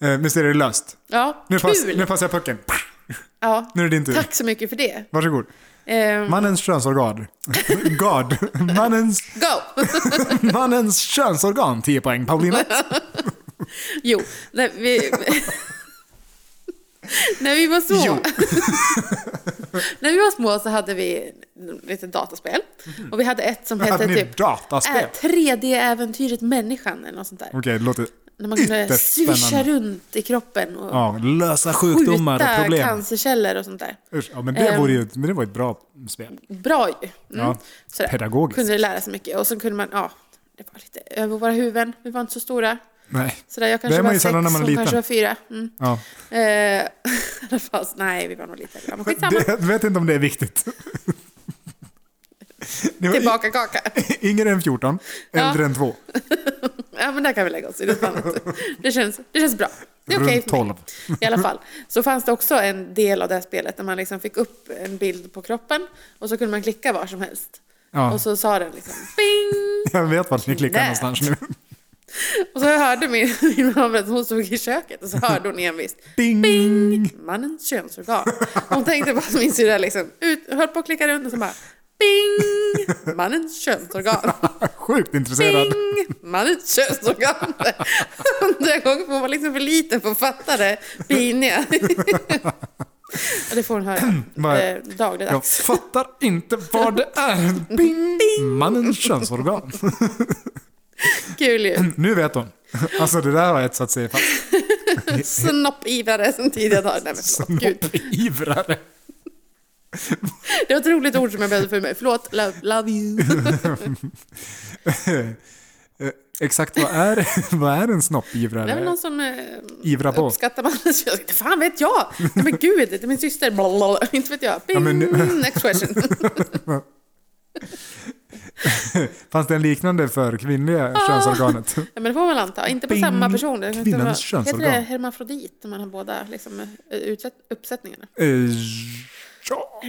Speaker 2: ja.
Speaker 1: eh, mysteriet är löst.
Speaker 2: ja
Speaker 1: Nu, pass,
Speaker 2: kul!
Speaker 1: nu passar jag pucken.
Speaker 2: ja.
Speaker 1: Nu är det din tur.
Speaker 2: Tack så mycket för det.
Speaker 1: Varsågod.
Speaker 2: Ehm,
Speaker 1: Mannens könsorgan. God. Mannens,
Speaker 2: go!
Speaker 1: mannens könsorgan. 10 poäng. Paulina.
Speaker 2: Jo, när vi... när vi var små...
Speaker 1: Jo.
Speaker 2: när vi var små så hade vi lite dataspel. Och vi hade ett som hette
Speaker 1: Hade ni
Speaker 2: typ...
Speaker 1: dataspel?
Speaker 2: Äh, 3D-äventyret Människan eller något sånt där.
Speaker 1: Okej, det låter...
Speaker 2: När man kunde
Speaker 1: Ytterst
Speaker 2: swisha
Speaker 1: spännande.
Speaker 2: runt i kroppen och
Speaker 1: Ja, lösa sjukdomar och
Speaker 2: skjuta
Speaker 1: problem.
Speaker 2: cancerceller och sånt där.
Speaker 1: Usch, ja, men det,
Speaker 2: Ehm.
Speaker 1: vore ju, men det var ett bra spel.
Speaker 2: Bra ju! Mm.
Speaker 1: Ja,
Speaker 2: Sådär.
Speaker 1: pedagogiskt.
Speaker 2: Kunde lära sig mycket. Och så kunde man, ja, det var lite över våra huvuden. Vi var inte så stora.
Speaker 1: Nej.
Speaker 2: Sådär, jag kanske
Speaker 1: är man
Speaker 2: var
Speaker 1: ju
Speaker 2: sex,
Speaker 1: sällan när man är
Speaker 2: hon
Speaker 1: liten.
Speaker 2: kanske var fyra. Mm.
Speaker 1: Ja.
Speaker 2: Eh, i alla fall, nej, vi var nog lite äldre. Men skitsamma.
Speaker 1: Det, jag vet inte om det är viktigt. Ni var
Speaker 2: Tillbaka kaka.
Speaker 1: i- yngre än 14,
Speaker 2: Ja.
Speaker 1: äldre än 2.
Speaker 2: Ja, men där kan vi lägga oss i. Det, är spännande. det, känns, det känns bra. Det är okej
Speaker 1: Runt
Speaker 2: för mig.
Speaker 1: 12.
Speaker 2: I alla fall. Så fanns det också en del av det här spelet där man liksom fick upp en bild på kroppen och så kunde man klicka var som helst.
Speaker 1: Ja.
Speaker 2: Och så sa den liksom bing!
Speaker 1: Jag vet vart ni klickar
Speaker 2: Nät.
Speaker 1: någonstans nu.
Speaker 2: Och så hörde min, min mamma att hon stod i köket och så hörde hon envist
Speaker 1: Ding!
Speaker 2: bing! Mannens könsorgan. Hon tänkte bara att min syrra liksom ut, höll på att klicka runt och så bara bing! Mannens könsorgan.
Speaker 1: Sjukt intresserad.
Speaker 2: Bing! Mannens könsorgan. Hundra gånger, för hon var liksom för liten för att fatta det piniga. Och det får hon höra
Speaker 1: Bara-
Speaker 2: eh,
Speaker 1: Jag
Speaker 2: dagligdags.
Speaker 1: fattar inte vad det är. Bing! Mannens könsorgan.
Speaker 2: Kul ju.
Speaker 1: Nu vet hon. Alltså det där har etsat sig fast.
Speaker 2: Snoppivrare sen tidigare dagar. Nej, men förlåt. Gud.
Speaker 1: Snoppivrare.
Speaker 2: Det var ett roligt ord som jag behövde för mig. Förlåt. Love, love you.
Speaker 1: Eh, Exakt vad är, vad är en snoppivrare?
Speaker 2: Det är väl någon som eh,
Speaker 1: Ivra på.
Speaker 2: uppskattar mannens könsorgan. Fan vet jag. Nej, men gud, det är min syster. Blablabla. Inte vet jag. Bing!
Speaker 1: men nu-
Speaker 2: Next question.
Speaker 1: Fanns det en liknande för kvinnliga
Speaker 2: Ah.
Speaker 1: könsorganet?
Speaker 2: Ja, men det får man anta. Inte på
Speaker 1: Bing.
Speaker 2: samma person. Det kan inte
Speaker 1: Kvinnans
Speaker 2: vara-
Speaker 1: könsorgan.
Speaker 2: Heter det hermafrodit när man har båda liksom, eh, utsätt, uppsättningarna?
Speaker 1: Eh, ja.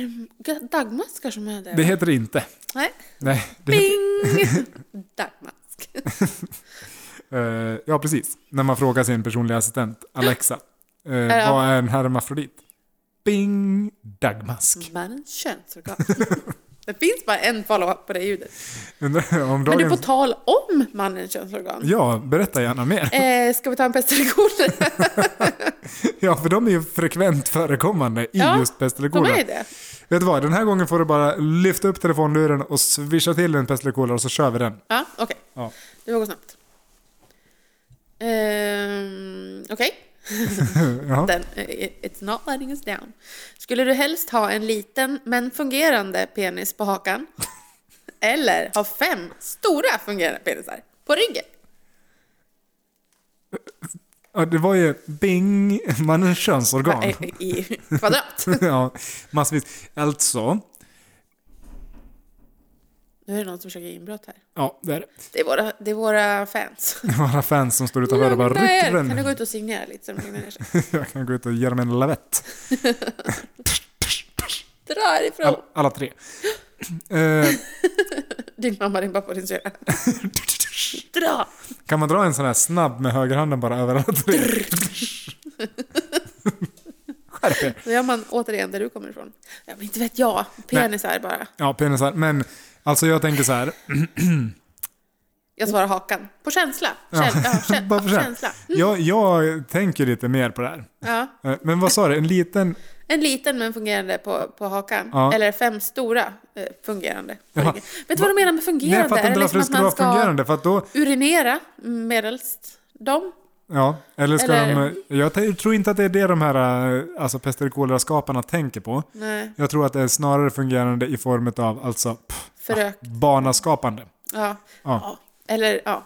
Speaker 2: G- Dagmaskar som är det?
Speaker 1: Det heter det inte.
Speaker 2: Nej.
Speaker 1: Nej, det heter,
Speaker 2: Bing! Dagmask.
Speaker 1: eh, ja, precis. När man frågar sin personliga assistent Alexa. Eh,
Speaker 2: Ja.
Speaker 1: Vad är en hermafrodit? Bing! Dagmask.
Speaker 2: Mannens könsorgan. Det finns bara en follow-up på det ljudet.
Speaker 1: Undrar om
Speaker 2: Mm. Men du, på
Speaker 1: dagens...
Speaker 2: tal om mannens könsorgan.
Speaker 1: Ja, berätta gärna mer.
Speaker 2: Eh, ska vi ta en pest eller kolera?
Speaker 1: Ja, för de är ju frekvent förekommande i
Speaker 2: Ja,
Speaker 1: just pest eller
Speaker 2: De
Speaker 1: kolera.
Speaker 2: är det.
Speaker 1: Vet du vad, den här gången får du bara lyfta upp telefonluren och swisha till en pest eller kolera och så kör vi den.
Speaker 2: Ja, okej.
Speaker 1: Ja.
Speaker 2: Det var gå snabbt. Ehm, okej.
Speaker 1: Ja.
Speaker 2: Den, eh, it's not letting us down. Skulle du helst ha en liten men fungerande penis på hakan? Eller ha fem stora fungerande penisar på ryggen?
Speaker 1: Ja, det var ju bing, man är könsorgan.
Speaker 2: I kvadrat.
Speaker 1: ja, massvis. Alltså,
Speaker 2: Nu är det någon som försöker inbrott här.
Speaker 1: ja, det är det.
Speaker 2: Det är våra, det är våra fans.
Speaker 1: Våra fans som står utanför och bara
Speaker 2: Lugna er. Kan du
Speaker 1: rycker
Speaker 2: gå ut och signera lite? Så de lugnar ner sig?
Speaker 1: Jag kan gå ut och ge dem en lavett.
Speaker 2: Dra härifrån!
Speaker 1: Alla, alla tre. Eh,
Speaker 2: Din mamma, din pappa och din syrra. Dra!
Speaker 1: kan man dra en sån här snabb med högerhanden bara över alla tre? Skärp er.
Speaker 2: Då gör man återigen där du kommer ifrån. Ja, men inte vet jag. Penisar bara.
Speaker 1: Ja, penisar. Men alltså jag tänker så här.
Speaker 2: Jag svarar hakan. På känsla. Känsla. Ja. kä-
Speaker 1: Bara för så här.
Speaker 2: känsla. Mm.
Speaker 1: Jag, jag tänker lite mer på det här.
Speaker 2: Ja.
Speaker 1: Eh, Men vad sa du? En liten...
Speaker 2: En liten men fungerande på, på hakan.
Speaker 1: Ja.
Speaker 2: Eller fem stora eh, fungerande.
Speaker 1: Jaha.
Speaker 2: Vet du vad de menar med
Speaker 1: Nej, jag
Speaker 2: fungerande?
Speaker 1: fattar
Speaker 2: Är
Speaker 1: inte
Speaker 2: det
Speaker 1: varför
Speaker 2: liksom
Speaker 1: det
Speaker 2: att
Speaker 1: skulle vara
Speaker 2: man ska
Speaker 1: fungerande. För att då,
Speaker 2: urinera medelst dem?
Speaker 1: ja, eller ska
Speaker 2: Eller-
Speaker 1: de... Jag t- tror inte att det är det de här eh, alltså pest eller kolera-skaparna tänker på.
Speaker 2: Nej,
Speaker 1: Jag tror att det är snarare fungerande i form av alltså pff,
Speaker 2: förök.
Speaker 1: banaskapande.
Speaker 2: Ja.
Speaker 1: Ja.
Speaker 2: ja. Eller ja.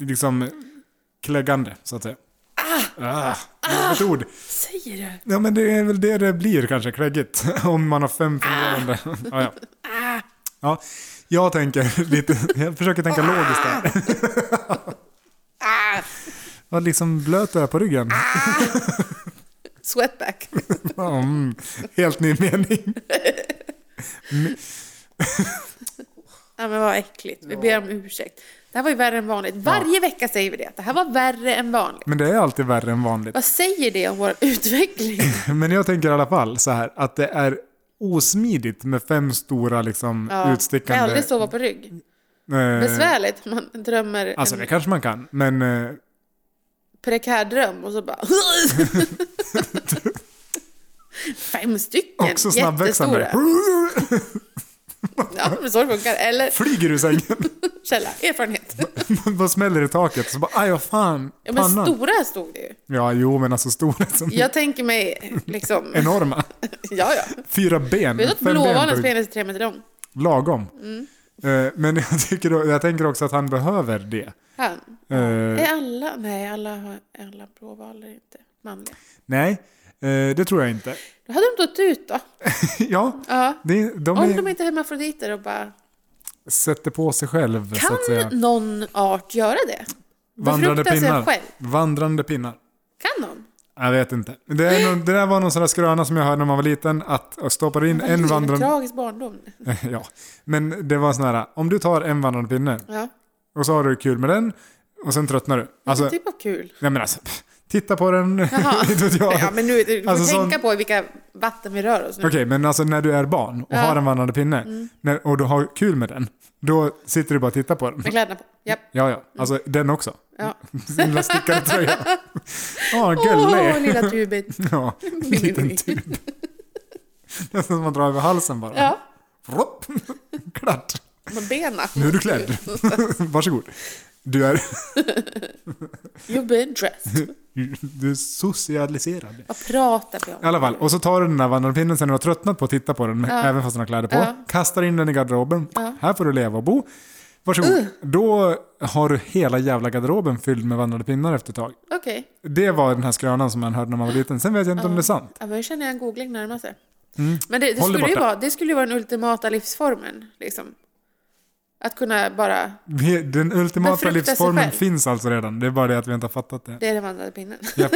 Speaker 1: Liksom kläggande, så att säga. Ah! Ah! Ett ord.
Speaker 2: Säger du?
Speaker 1: Ja, men det är väl det det blir kanske, kläggigt. Om man har fem
Speaker 2: Ah.
Speaker 1: fungerande. Ja, ja. ja, jag tänker lite... Jag försöker tänka logiskt där.
Speaker 2: Ah!
Speaker 1: Vad liksom blöt du är på ryggen.
Speaker 2: Sweatback. Ah.
Speaker 1: Mm, helt ny mening.
Speaker 2: Ja men vad äckligt. Vi ber om ursäkt. Det här var ju värre än vanligt. Varje vecka säger vi det. Det här var värre än vanligt.
Speaker 1: Men det är alltid värre än vanligt.
Speaker 2: Vad säger det om vår utveckling?
Speaker 1: Men jag tänker i alla fall så här att det är osmidigt med fem stora liksom
Speaker 2: Ja. Kan jag
Speaker 1: utstickande...
Speaker 2: aldrig sova på rygg.
Speaker 1: eh,
Speaker 2: Besvärligt om man drömmer
Speaker 1: Alltså det
Speaker 2: en
Speaker 1: kanske man kan, men eh,
Speaker 2: prekär dröm och så bara... Fem stycken
Speaker 1: också
Speaker 2: jättestora.
Speaker 1: snabbväxande.
Speaker 2: Ja, men så det funkar. Eller
Speaker 1: Flyger du sängen?
Speaker 2: källa, erfarenhet.
Speaker 1: Vad smäller i taket? Så bara, aj vad fan,
Speaker 2: Ja, men
Speaker 1: pannan.
Speaker 2: stora stod det ju.
Speaker 1: Ja, jo men alltså stora som
Speaker 2: Jag tänker mig liksom...
Speaker 1: enorma.
Speaker 2: Ja, ja.
Speaker 1: Fyra ben. Mm, fem
Speaker 2: Vet du att
Speaker 1: ben på
Speaker 2: blåvalens
Speaker 1: ryggen.
Speaker 2: penis är tre meter lång?
Speaker 1: Lagom.
Speaker 2: Mm.
Speaker 1: Eh, men jag, tycker, då- jag tänker också att han behöver det.
Speaker 2: Han.
Speaker 1: Eh,
Speaker 2: Är alla... Nej, alla, har- alla blåvalar är inte manliga.
Speaker 1: Nej, eh, det tror jag inte.
Speaker 2: Då hade de dött ut då.
Speaker 1: ja,
Speaker 2: Ja.
Speaker 1: det, de,
Speaker 2: Om
Speaker 1: är,
Speaker 2: de inte är hermafroditer och bara...
Speaker 1: sätter på sig själv så att säga.
Speaker 2: Kan någon art göra det?
Speaker 1: Vandrande
Speaker 2: befrukta sig
Speaker 1: pinnar.
Speaker 2: själv?
Speaker 1: Vandrande pinnar.
Speaker 2: Kan de?
Speaker 1: Jag vet inte. Det, är någon, det där var någon sån där skröna som jag hörde när man var liten. Att och stoppade in en vandrande...
Speaker 2: Tragisk barndom.
Speaker 1: Ja. Men det var sån här, om du tar en vandrande pinne
Speaker 2: Ja.
Speaker 1: och så har du kul med den och sen tröttnar du. Alltså,
Speaker 2: typ av kul.
Speaker 1: nej men alltså, pff, titta på den.
Speaker 2: Jaha.
Speaker 1: inte vet jag.
Speaker 2: Ja, men nu, du får
Speaker 1: Alltså,
Speaker 2: tänka
Speaker 1: sån-
Speaker 2: på i vilka vatten vi rör oss nu.
Speaker 1: Okej, men alltså när du är barn och
Speaker 2: Ja. Mm.
Speaker 1: har en vandrande pinne när, och du har kul med den, då sitter du bara och tittar på den.
Speaker 2: Med kläderna på. Japp. Mm.
Speaker 1: Ja, ja. Alltså den också.
Speaker 2: Ja.
Speaker 1: Sin lilla stickade tröja. Ja,
Speaker 2: Åh,
Speaker 1: gullig.
Speaker 2: lilla tuben.
Speaker 1: Ja, en liten tub. Nästan som man drar över halsen bara.
Speaker 2: Ja,
Speaker 1: Vropp. Klart.
Speaker 2: med benen.
Speaker 1: Nu är du klädd. Varsågod. Du är,
Speaker 2: You've been dressed.
Speaker 1: du är socialiserad.
Speaker 2: Vad pratar vi om?
Speaker 1: I alla fall, och så tar du den där vandrarpinnen sen du har tröttnat på att titta på den,
Speaker 2: Ja.
Speaker 1: även fast den har kläder på.
Speaker 2: Ja.
Speaker 1: Kastar in den i garderoben.
Speaker 2: Ja. Uh.
Speaker 1: Här får du leva och bo. Varsågod. Då har du hela jävla garderoben fylld med vandrade pinnar efter ett tag.
Speaker 2: Okej.
Speaker 1: Det var den här skrönan som man hörde när man var liten. Sen vet jag inte om det är sant.
Speaker 2: Ja, men jag känner jag en googling närma sig. Men det, det,
Speaker 1: Mm. Håll dig
Speaker 2: skulle ju
Speaker 1: borta.
Speaker 2: vara, det skulle ju vara den ultimata livsformen. Liksom. Att kunna bara...
Speaker 1: Vi- Den ultimata
Speaker 2: Befrukta sig
Speaker 1: livsformen
Speaker 2: själv.
Speaker 1: finns alltså redan. Det är bara det att vi inte har fattat det.
Speaker 2: Det är den vandrande pinnen.
Speaker 1: Japp.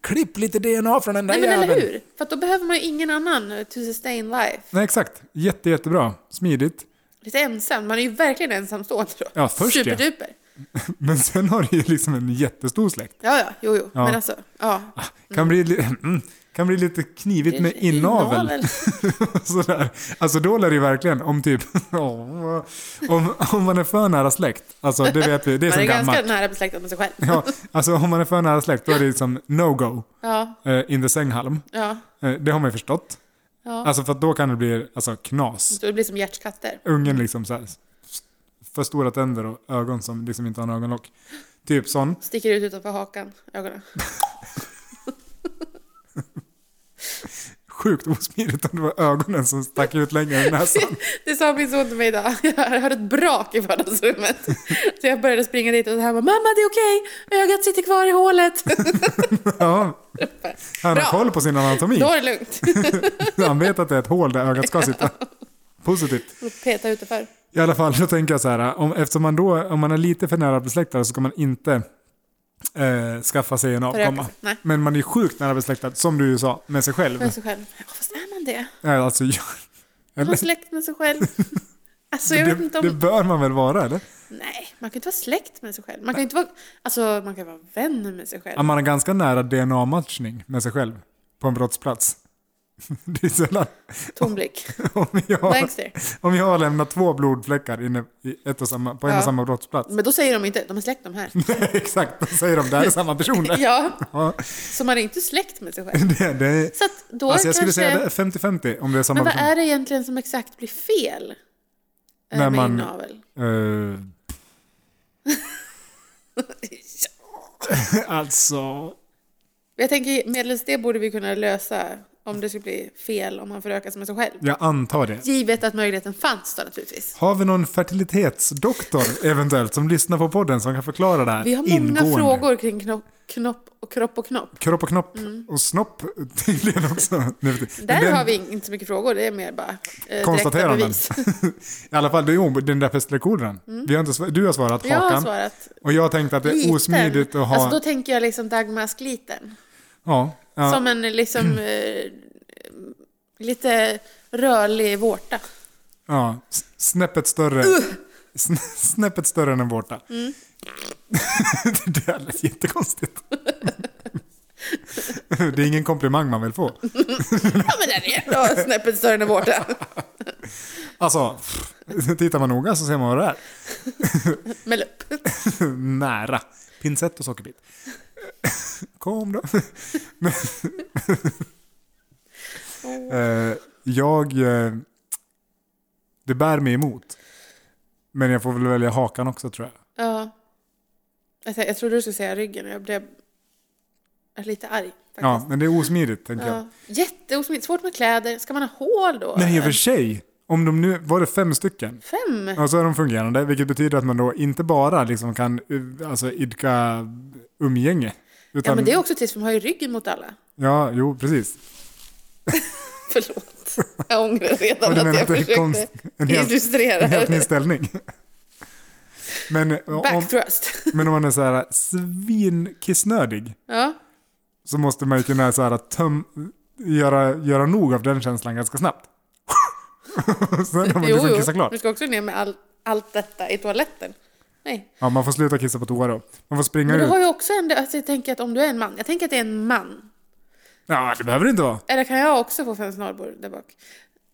Speaker 1: Klipp lite DNA från den där
Speaker 2: Nej, men eller
Speaker 1: jäveln.
Speaker 2: hur? För att då behöver man ju ingen annan to sustain life.
Speaker 1: Nej, exakt. Jätte, jättebra. Smidigt.
Speaker 2: Lite ensam. Man är ju verkligen ensamstående då.
Speaker 1: Ja, först ja.
Speaker 2: Superduper.
Speaker 1: Men sen har du ju liksom en jättestor släkt.
Speaker 2: Ja, ja, jo, jo.
Speaker 1: Ja.
Speaker 2: Men alltså, ja.
Speaker 1: Kan bli, li- mm, kan bli lite knivigt med inavel. Sådär. Alltså då lär det ju verkligen om typ... om, om man är för nära släkt, alltså det vet vi, det är
Speaker 2: Man
Speaker 1: som
Speaker 2: är ganska
Speaker 1: gammalt.
Speaker 2: nära besläktad med sig själv.
Speaker 1: Ja, alltså om man är för nära släkt då är det liksom no-go
Speaker 2: Ja,
Speaker 1: eh, in the sänghalm.
Speaker 2: ja.
Speaker 1: Eh, det har man ju förstått.
Speaker 2: ja.
Speaker 1: Alltså för att då kan det bli alltså, knas.
Speaker 2: Så det blir som hjärtskatter.
Speaker 1: Ungen liksom såhär, för stora tänder och ögon som liksom inte har en ögonlock. Typ sån.
Speaker 2: Sticker ut utanför hakan, ögonen.
Speaker 1: sjukt osmidigt om det var ögonen som stack ut längre än näsan.
Speaker 2: Det sa min son till mig idag. Jag hörde ett brak i vardagsrummet. Så jag började springa dit och han bara “Mamma, det är okej! Ögat sitter kvar i hålet!”
Speaker 1: Ja, han
Speaker 2: Bra.
Speaker 1: har koll på sin anatomi.
Speaker 2: Då är det lugnt.
Speaker 1: Han vet att det är ett hål där ögat ska sitta. Positivt.
Speaker 2: Peta ut det för.
Speaker 1: I alla fall, då tänker jag så här, om, eftersom man då, om man är lite för nära besläktad så ska man inte eh, skaffa sig en avkomma.
Speaker 2: Förökelse, nej.
Speaker 1: Men man är sjukt nära besläktad, som du ju sa, med sig själv.
Speaker 2: Med sig själv. Ja, fast är man det?
Speaker 1: Nej, Alltså, jag-
Speaker 2: Är man
Speaker 1: eller,
Speaker 2: släkt med sig själv? Alltså jag vet inte
Speaker 1: det,
Speaker 2: om...
Speaker 1: det bör man väl vara eller?
Speaker 2: Nej, man kan inte vara släkt med sig själv. Man kan inte vara... Alltså man kan vara vän med sig själv.
Speaker 1: Ja, man är ganska nära DNA-matchning med sig själv på en brottsplats. Det är sällan.
Speaker 2: Tom blick.
Speaker 1: Om jag,
Speaker 2: Bankster.
Speaker 1: om jag har lämnat två blodfläckar inne i ett och samma, på en och
Speaker 2: Ja. Mm.
Speaker 1: samma brottsplats.
Speaker 2: Men då säger de inte de är släkt de här.
Speaker 1: Exakt, då säger de det här är samma personer.
Speaker 2: Ja,
Speaker 1: Ja,
Speaker 2: så man är inte släkt med sig själv.
Speaker 1: det, det är,
Speaker 2: Så att då
Speaker 1: alltså jag skulle
Speaker 2: kanske...
Speaker 1: säga det är 50-50 om det är samma
Speaker 2: Men vad
Speaker 1: person.
Speaker 2: är det egentligen som exakt blir fel? eh,
Speaker 1: När
Speaker 2: med
Speaker 1: man-
Speaker 2: inavel?
Speaker 1: Eh, Alltså...
Speaker 2: Jag tänker medelst det borde vi kunna lösa om det skulle bli fel om man förökas med sig själv.
Speaker 1: Jag antar det.
Speaker 2: Givet att möjligheten fanns då naturligtvis.
Speaker 1: Har vi någon fertilitetsdoktor eventuellt som lyssnar på podden som kan förklara det här
Speaker 2: Vi har många
Speaker 1: ingående?
Speaker 2: frågor kring knopp, knopp och kropp och knopp.
Speaker 1: Kropp och knopp och snopp tydligen också. Nu för tiden.
Speaker 2: Där
Speaker 1: Men den-
Speaker 2: har vi inte så mycket frågor, det är mer bara eh, direkta
Speaker 1: Konstateranden.
Speaker 2: bevis.
Speaker 1: I alla fall, det är ju den där pestlektionen. Vi har inte, svar- du har svarat
Speaker 2: Mm. Jag har
Speaker 1: hakan.
Speaker 2: svarat
Speaker 1: och jag tänkte att det är
Speaker 2: liten.
Speaker 1: osmidigt att ha...
Speaker 2: Alltså då tänker jag liksom Dagmaskliten.
Speaker 1: ja, ja.
Speaker 2: Som en liksom eh, lite rörlig vårta.
Speaker 1: Ja, s- snäppet större.
Speaker 2: Uh!
Speaker 1: Sn- Snäppet större än en vårta.
Speaker 2: Mm.
Speaker 1: det där lät jättekonstigt. det är ingen komplimang man vill få.
Speaker 2: Ja men den är ändå snäppet större än en vårta.
Speaker 1: Alltså, pff, tittar man noga så ser man vad det är.
Speaker 2: Med lupp.
Speaker 1: Nära. Pinsett och sockerbit. Kom då. Men- Eh, jag... eh, Det bär mig emot. Men jag får väl välja hakan också tror jag.
Speaker 2: Ja. Jag, tänkte- jag trodde du skulle säga ryggen och jag blev jag är lite arg. Faktiskt.
Speaker 1: Ja, men det är osmidigt tänker jag.
Speaker 2: Ja. Jätteosmidigt. Svårt med kläder. Ska man ha hål då?
Speaker 1: Nej, i och för
Speaker 2: eller?
Speaker 1: sig. Om de nu, var det fem stycken?
Speaker 2: Fem?
Speaker 1: Ja, så är de fungerande, vilket betyder att man då inte bara liksom kan uh, alltså, idka umgänge. Utan,
Speaker 2: Ja men det är också trist för man har ju ryggen mot alla.
Speaker 1: ja, jo, precis.
Speaker 2: Förlåt. Jag ångrar
Speaker 1: Ja,
Speaker 2: redan
Speaker 1: du
Speaker 2: att
Speaker 1: menar
Speaker 2: jag
Speaker 1: att det är
Speaker 2: försökte
Speaker 1: konst- en helt-
Speaker 2: illustrera.
Speaker 1: En helt ny
Speaker 2: det.
Speaker 1: ställning. Men eh, om,
Speaker 2: Backthrust.
Speaker 1: men om man är så här eh, svinkissnödig
Speaker 2: Ja.
Speaker 1: så måste man ju kunna så här, eh, töm, göra, göra nog av den känslan ganska snabbt. Sen har man liksom kissat klart.
Speaker 2: Du ska också ner med all, allt detta i toaletten. Nej.
Speaker 1: Ja, man får sluta kissa på toa då. Man får springa
Speaker 2: Men du
Speaker 1: ut.
Speaker 2: har ju också en... Alltså jag tänker att om du är en man. Jag tänker att det är en man.
Speaker 1: Ja, det behöver det inte vara.
Speaker 2: Eller kan jag också få fem snarbor där bak?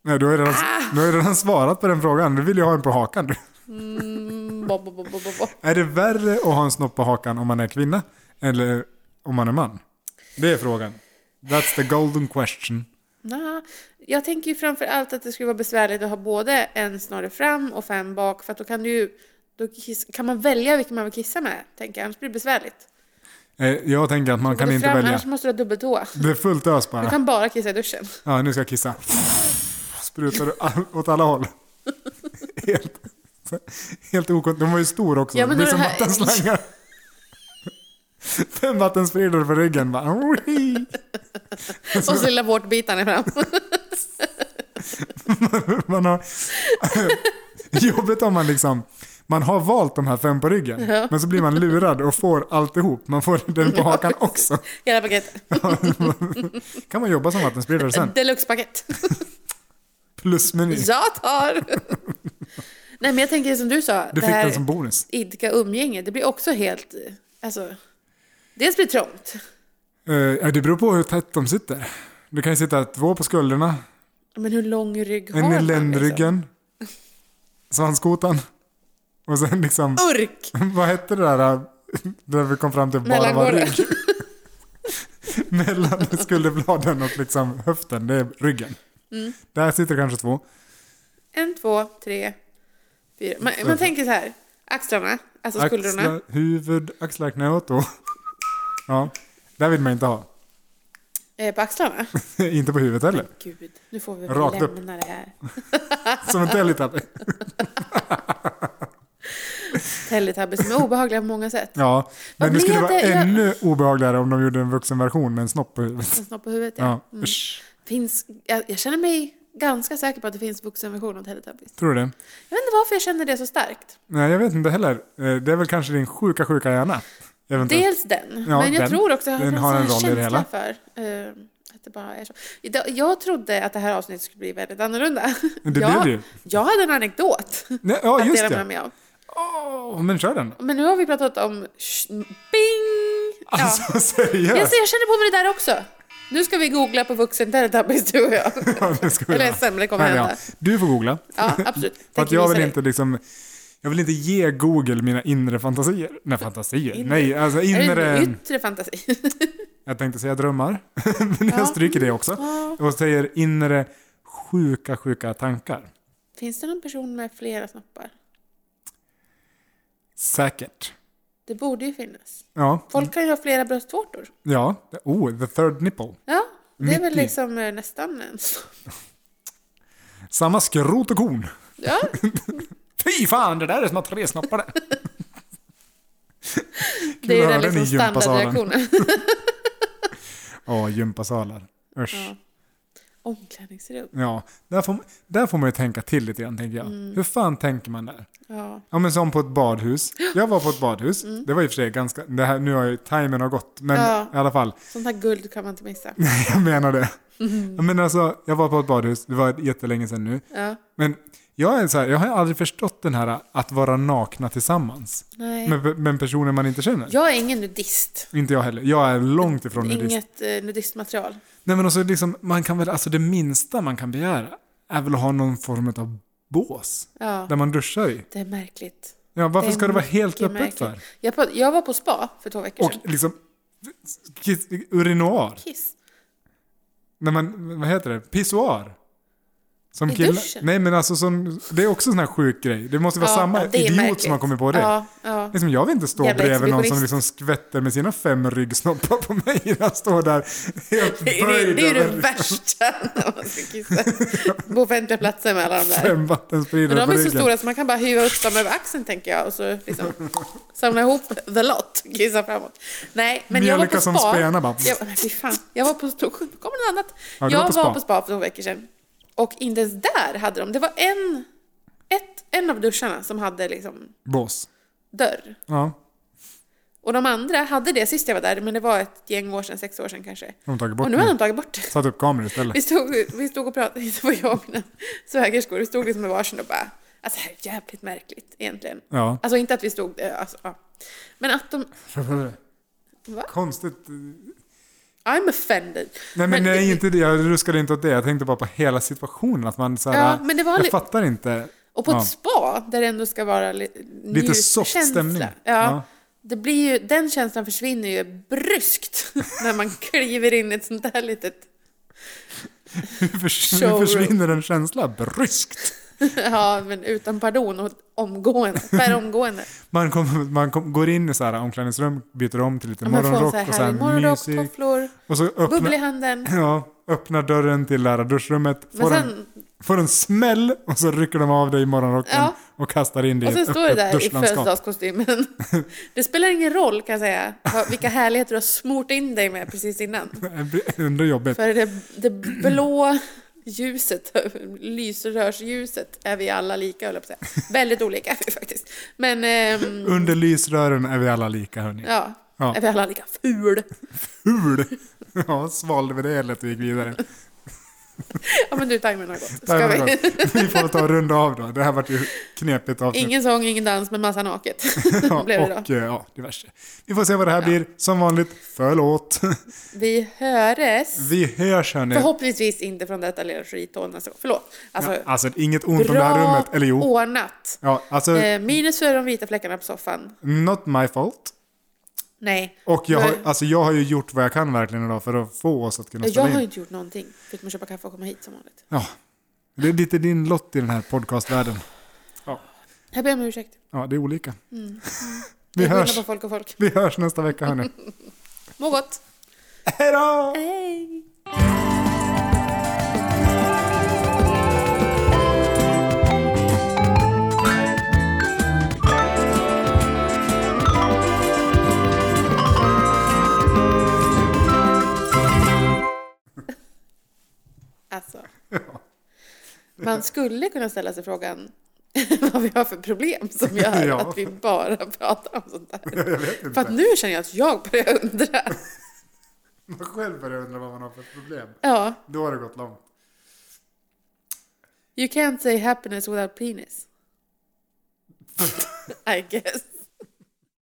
Speaker 1: Nej, du har ju redan,
Speaker 2: Ah!
Speaker 1: du har ju redan svarat på den frågan. Du vill ju ha en på hakan. du.
Speaker 2: Mm, Bo, bo, bo, bo, bo, bo.
Speaker 1: Är det värre att ha en snopp på hakan om man är kvinna eller om man är man? Det är frågan. That's the golden question.
Speaker 2: Nja, jag tänker ju framför allt att det skulle vara besvärligt att ha både en snorre fram och fem bak för att då kan du ju då kiss, kan man välja vilken man vill kissa med, tänker jag. Annars blir det besvärligt.
Speaker 1: Eh, Jag tänker att man kan
Speaker 2: Både
Speaker 1: inte
Speaker 2: fram,
Speaker 1: välja.
Speaker 2: Annars måste du ha dubbeltoa.
Speaker 1: Det är fullt ös
Speaker 2: Du
Speaker 1: bara.
Speaker 2: kan bara kissa i duschen.
Speaker 1: Ja, nu ska jag kissa. Sprutar du all- åt alla håll. Helt, helt okont. Den var ju stor också.
Speaker 2: Ja,
Speaker 1: det
Speaker 2: men
Speaker 1: blir
Speaker 2: då
Speaker 1: som
Speaker 2: det här-
Speaker 1: vattenslangar. Fem vattenspridare på ryggen. Bara. "Oi."
Speaker 2: Och så lilla vårtbitarna fram.
Speaker 1: Man har... Jobbigt om man liksom... Man har valt de här fem på ryggen, men så blir man lurad och får alltihop. Man får den på hakan också.
Speaker 2: Hela paketet.
Speaker 1: kan man jobba som vattenspridare sen.
Speaker 2: Deluxe-paket.
Speaker 1: Plusmeny.
Speaker 2: Jag tar! Nej men jag tänker som du sa,
Speaker 1: Du
Speaker 2: det
Speaker 1: fick
Speaker 2: här
Speaker 1: den som bonus.
Speaker 2: idka umgänge, det blir också helt... eh, Alltså, dels blir det trångt.
Speaker 1: Eh, ja, det beror på hur tätt de sitter. Du kan ju sitta två på skulderna,
Speaker 2: Men hur lång rygg har
Speaker 1: en i
Speaker 2: man? liksom?
Speaker 1: ländryggen, svanskotan och sen liksom...
Speaker 2: Liksom? Urk!
Speaker 1: Vad hette det där äh, där vi kom fram till bara var
Speaker 2: Mellangården.
Speaker 1: rygg? Mellan skulderbladen och liksom höften, det är ryggen. Där sitter kanske två.
Speaker 2: En, två, tre, fyra. Man, man tänker så här. Axlarna, alltså skuldrorna.
Speaker 1: Axlar, huvud, axlar, knä och tå. Ja, där vill man inte ha.
Speaker 2: Eh, på axlarna?
Speaker 1: Inte på huvudet heller.
Speaker 2: Gud, nu får vi väl
Speaker 1: Rakt upp.
Speaker 2: lämna det här.
Speaker 1: Som en Teletubby.
Speaker 2: Teletubbies som är obehagliga på många sätt.
Speaker 1: Ja. Men det
Speaker 2: blev
Speaker 1: skulle vara
Speaker 2: det? Jag-
Speaker 1: ännu obehagligare om de gjorde en vuxenversion med en snopp på huvudet.
Speaker 2: En snopp på huvudet, ja.
Speaker 1: Ja.
Speaker 2: Mm.
Speaker 1: Usch.
Speaker 2: Finns, jag, jag känner mig ganska säker på att det finns vuxenversion av Teletubbies.
Speaker 1: Tror du det?
Speaker 2: Jag vet inte varför jag känner det så starkt.
Speaker 1: Nej, jag vet inte heller. Eh, Det är väl kanske din sjuka, sjuka hjärna. Eventuellt.
Speaker 2: Dels den,
Speaker 1: Ja,
Speaker 2: men jag
Speaker 1: den.
Speaker 2: tror också att
Speaker 1: Den
Speaker 2: jag
Speaker 1: har
Speaker 2: har
Speaker 1: en
Speaker 2: en
Speaker 1: roll i
Speaker 2: sån
Speaker 1: det
Speaker 2: känsla
Speaker 1: hela.
Speaker 2: för eh, att det bara är så. Idag- Jag trodde att det här avsnittet skulle bli väldigt annorlunda.
Speaker 1: Men det
Speaker 2: jag,
Speaker 1: blev det ju.
Speaker 2: jag hade en anekdot
Speaker 1: Nej, ja,
Speaker 2: att
Speaker 1: just
Speaker 2: dela med
Speaker 1: det.
Speaker 2: mig av.
Speaker 1: Åh, men kör den.
Speaker 2: Men nu har vi pratat om... sh- Bing! Ja.
Speaker 1: Alltså,
Speaker 2: Jag,
Speaker 1: seriöst.
Speaker 2: ser, jag känner på mig det där också. Nu ska vi googla på vuxen Teletubbies du och jag.
Speaker 1: Ja, det ska vi
Speaker 2: Eller
Speaker 1: göra.
Speaker 2: SM, det kommer
Speaker 1: Men ja,
Speaker 2: hända.
Speaker 1: Du får googla.
Speaker 2: Ja, absolut.
Speaker 1: För att
Speaker 2: Tänker
Speaker 1: jag
Speaker 2: visa
Speaker 1: vill
Speaker 2: dig.
Speaker 1: inte liksom... Jag vill inte ge Google mina inre fantasier. Nej, fantasier.
Speaker 2: Inre.
Speaker 1: Nej, alltså
Speaker 2: Är det
Speaker 1: inre...
Speaker 2: en yttre fantasi?
Speaker 1: Jag tänkte säga drömmar, men
Speaker 2: Ja.
Speaker 1: jag stryker det också.
Speaker 2: Ja.
Speaker 1: Och säger inre sjuka, sjuka tankar.
Speaker 2: Finns det någon person med flera snoppar?
Speaker 1: Säkert.
Speaker 2: Det borde ju finnas.
Speaker 1: Ja.
Speaker 2: Folk kan ju ha flera bröstvårtor.
Speaker 1: ja. Oh, the third nipple.
Speaker 2: Ja, det är väl
Speaker 1: Mitt i.
Speaker 2: liksom eh, nästan en snopp.
Speaker 1: Samma skrot och korn.
Speaker 2: Ja,
Speaker 1: Fy fan, det där är som att ha tre snoppar det.
Speaker 2: det är ju den
Speaker 1: Knölen i
Speaker 2: liksom
Speaker 1: gympasalen.
Speaker 2: standardreaktionen.
Speaker 1: Ja, gympasalar. Usch.
Speaker 2: Ja.
Speaker 1: Ja.
Speaker 2: Omklädningsrum.
Speaker 1: Där, får, där får man ju tänka till lite grann, tänker jag.
Speaker 2: Mm.
Speaker 1: Hur fan tänker man där?
Speaker 2: Ja.
Speaker 1: Ja, men som på ett badhus. Jag var på ett badhus. Det var i och för sig ganska... Det här, nu har ju timern har gått, men
Speaker 2: Mm. Ja.
Speaker 1: i alla fall.
Speaker 2: Sånt här guld kan man inte missa.
Speaker 1: Jag menar det. Jag menar alltså, jag var på ett badhus, det var jättelänge sedan nu.
Speaker 2: Mm. Ja.
Speaker 1: Men jag, är så här, jag har aldrig förstått den här att vara nakna tillsammans.
Speaker 2: Nej.
Speaker 1: Med, med personer man inte känner.
Speaker 2: Jag är ingen nudist.
Speaker 1: Inte jag heller. Jag är långt ifrån nudist.
Speaker 2: Inget eh, nudistmaterial.
Speaker 1: Nej men också liksom, man kan väl, alltså det minsta man kan begära är väl att ha någon form av bås.
Speaker 2: Ja,
Speaker 1: Där man duschar i.
Speaker 2: det är märkligt.
Speaker 1: Ja, varför
Speaker 2: är
Speaker 1: ska det vara helt
Speaker 2: mycket
Speaker 1: öppet
Speaker 2: märkligt.
Speaker 1: för?
Speaker 2: Jag, prat- jag var på spa för två veckor
Speaker 1: Och
Speaker 2: sedan.
Speaker 1: liksom, kiss, urinoar.
Speaker 2: Kiss.
Speaker 1: När man, vad heter det? Pissoar. Som
Speaker 2: I
Speaker 1: killar.
Speaker 2: duschen?
Speaker 1: Nej men alltså som, det är också en sån här sjuk grej. Det måste vara
Speaker 2: Ja,
Speaker 1: samma
Speaker 2: ja, det är
Speaker 1: idiot
Speaker 2: märkligt.
Speaker 1: som har kommit på det.
Speaker 2: Ja, ja.
Speaker 1: Liksom, jag vill inte stå
Speaker 2: Jävla
Speaker 1: bredvid någon som
Speaker 2: exhibitionist.
Speaker 1: liksom skvätter med sina fem ryggsnoppar på mig. när Jag står där helt
Speaker 2: Det, är-
Speaker 1: böjd
Speaker 2: det är ju det
Speaker 1: över
Speaker 2: värsta när man ska kissa. På offentliga platser med alla de där.
Speaker 1: fem
Speaker 2: Men
Speaker 1: vattenspridare
Speaker 2: de
Speaker 1: på
Speaker 2: är så
Speaker 1: ryggen.
Speaker 2: stora att man kan bara hyva upp dem över axeln tänker jag och så liksom samla ihop the lot och kissa framåt. Nej, men jag var
Speaker 1: Mjölka
Speaker 2: på
Speaker 1: som
Speaker 2: spa.
Speaker 1: spenar bara.
Speaker 2: Jag, men fy fan. jag var på stor... Nu kommer något annat.
Speaker 1: Ja, du
Speaker 2: jag
Speaker 1: var på
Speaker 2: var
Speaker 1: spa.
Speaker 2: på spa för två veckor sedan och inte ens där hade de. Det var en, ett, en av duscharna som hade liksom
Speaker 1: Bås.
Speaker 2: dörr.
Speaker 1: Ja,
Speaker 2: Och de andra hade det sist jag var där, men det var ett gäng år sedan, sex år sedan kanske.
Speaker 1: de har tagit bort
Speaker 2: Och nu har
Speaker 1: den.
Speaker 2: de tagit bort det.
Speaker 1: Satt upp kameror istället.
Speaker 2: Vi stod, vi stod och pratade, det var jag och mina svägerskor, vi stod liksom med varsin och bara, alltså det här är jävligt märkligt egentligen.
Speaker 1: Ja.
Speaker 2: Alltså inte att vi stod, eh, alltså, ja. Men att de, Va?
Speaker 1: Konstigt.
Speaker 2: I'm offended.
Speaker 1: Nej men, nej, inte det. jag ruskade inte åt det. Jag tänkte bara på hela situationen. Att man så här,
Speaker 2: Ja, men det var li-
Speaker 1: jag fattar inte.
Speaker 2: Och på ett
Speaker 1: Ja.
Speaker 2: spa, där det ändå ska vara li,
Speaker 1: Lite
Speaker 2: njut-
Speaker 1: soft
Speaker 2: känsla.
Speaker 1: stämning.
Speaker 2: Ja,
Speaker 1: Ja.
Speaker 2: Det blir ju, den känslan försvinner ju bryskt när man kliver in i ett sånt där litet,
Speaker 1: Hur förs-
Speaker 2: Showroom.
Speaker 1: hur försvinner en känsla bryskt?
Speaker 2: ja men utan pardon och omgående, per omgående.
Speaker 1: Man, kom, man kom, går in i så här omklädningsrum, byter om till lite
Speaker 2: Ja, Man får en
Speaker 1: morgonrock
Speaker 2: så här
Speaker 1: och så här
Speaker 2: härlig morgonrock,
Speaker 1: mysig.
Speaker 2: tofflor,
Speaker 1: Och så
Speaker 2: bubbel i
Speaker 1: öppnar,
Speaker 2: handen.
Speaker 1: ja, öppnar dörren till lärarduschrummet,
Speaker 2: Men
Speaker 1: får, en,
Speaker 2: sen
Speaker 1: får en smäll och så rycker de av dig morgonrocken
Speaker 2: Ja.
Speaker 1: och kastar in dig
Speaker 2: Och
Speaker 1: i
Speaker 2: sen
Speaker 1: ett
Speaker 2: står det
Speaker 1: öppet
Speaker 2: där i
Speaker 1: duschlandskap.
Speaker 2: födelsedagskostymen. Det spelar ingen roll kan jag säga vad- vilka härligheter du har smort in dig med precis innan.
Speaker 1: Ändå jobbigt.
Speaker 2: För det, det blå ljuset, lysrörsljuset, är vi alla lika höll jag på att säga. Väldigt olika är vi faktiskt. Men ehm,
Speaker 1: Under lysrören är vi alla lika hörni.
Speaker 2: ja,
Speaker 1: Ja.
Speaker 2: är vi alla lika ful.
Speaker 1: Ful! Ja, svalde vi det eller och gick vidare.
Speaker 2: Ja men du, timern har gått.
Speaker 1: Där
Speaker 2: Ska
Speaker 1: var
Speaker 2: vi?
Speaker 1: det. vi får ta och runda av då. Det här vart ju knepigt avsnitt.
Speaker 2: Ingen sång, ingen dans, men massa naket.
Speaker 1: Ja,
Speaker 2: blev det då.
Speaker 1: och eh, ja, diverse. Vi får se vad det här blir. Som vanligt, förlåt.
Speaker 2: Vi höres.
Speaker 1: Vi hörs hörni.
Speaker 2: Förhoppningsvis inte från detta lilla skithål nästa gång. Förlåt. Alltså,
Speaker 1: Ja, alltså inget ont om det här
Speaker 2: bra
Speaker 1: rummet, eller jo.
Speaker 2: ordnat.
Speaker 1: Ja, alltså,
Speaker 2: Eh, minus för de vita fläckarna på soffan.
Speaker 1: not my fault.
Speaker 2: Nej.
Speaker 1: Och jag har,
Speaker 2: Nej.
Speaker 1: alltså, jag har ju gjort vad jag kan verkligen idag för att få oss att kunna
Speaker 2: Jag
Speaker 1: ställa
Speaker 2: har ju
Speaker 1: in.
Speaker 2: inte gjort någonting förutom att köpa kaffe och komma hit som vanligt.
Speaker 1: Ja, det är lite din lott i den här podcastvärlden.
Speaker 2: Jag ber om ursäkt.
Speaker 1: Ja, det är olika.
Speaker 2: Mm. Det
Speaker 1: Vi
Speaker 2: är skillnad
Speaker 1: hörs.
Speaker 2: på folk och folk.
Speaker 1: Vi hörs nästa vecka hörni.
Speaker 2: Må gott!
Speaker 1: Hej då!
Speaker 2: Hej! Alltså. Man skulle kunna ställa sig frågan vad vi har för problem som gör
Speaker 1: Ja.
Speaker 2: att vi bara pratar om sånt där.
Speaker 1: Jag vet inte.
Speaker 2: För att nu känner jag att jag börjar undra.
Speaker 1: Man själv börjar undra vad man har för problem.
Speaker 2: Ja,
Speaker 1: Då har det gått långt.
Speaker 2: you can't say happiness without penis. I guess.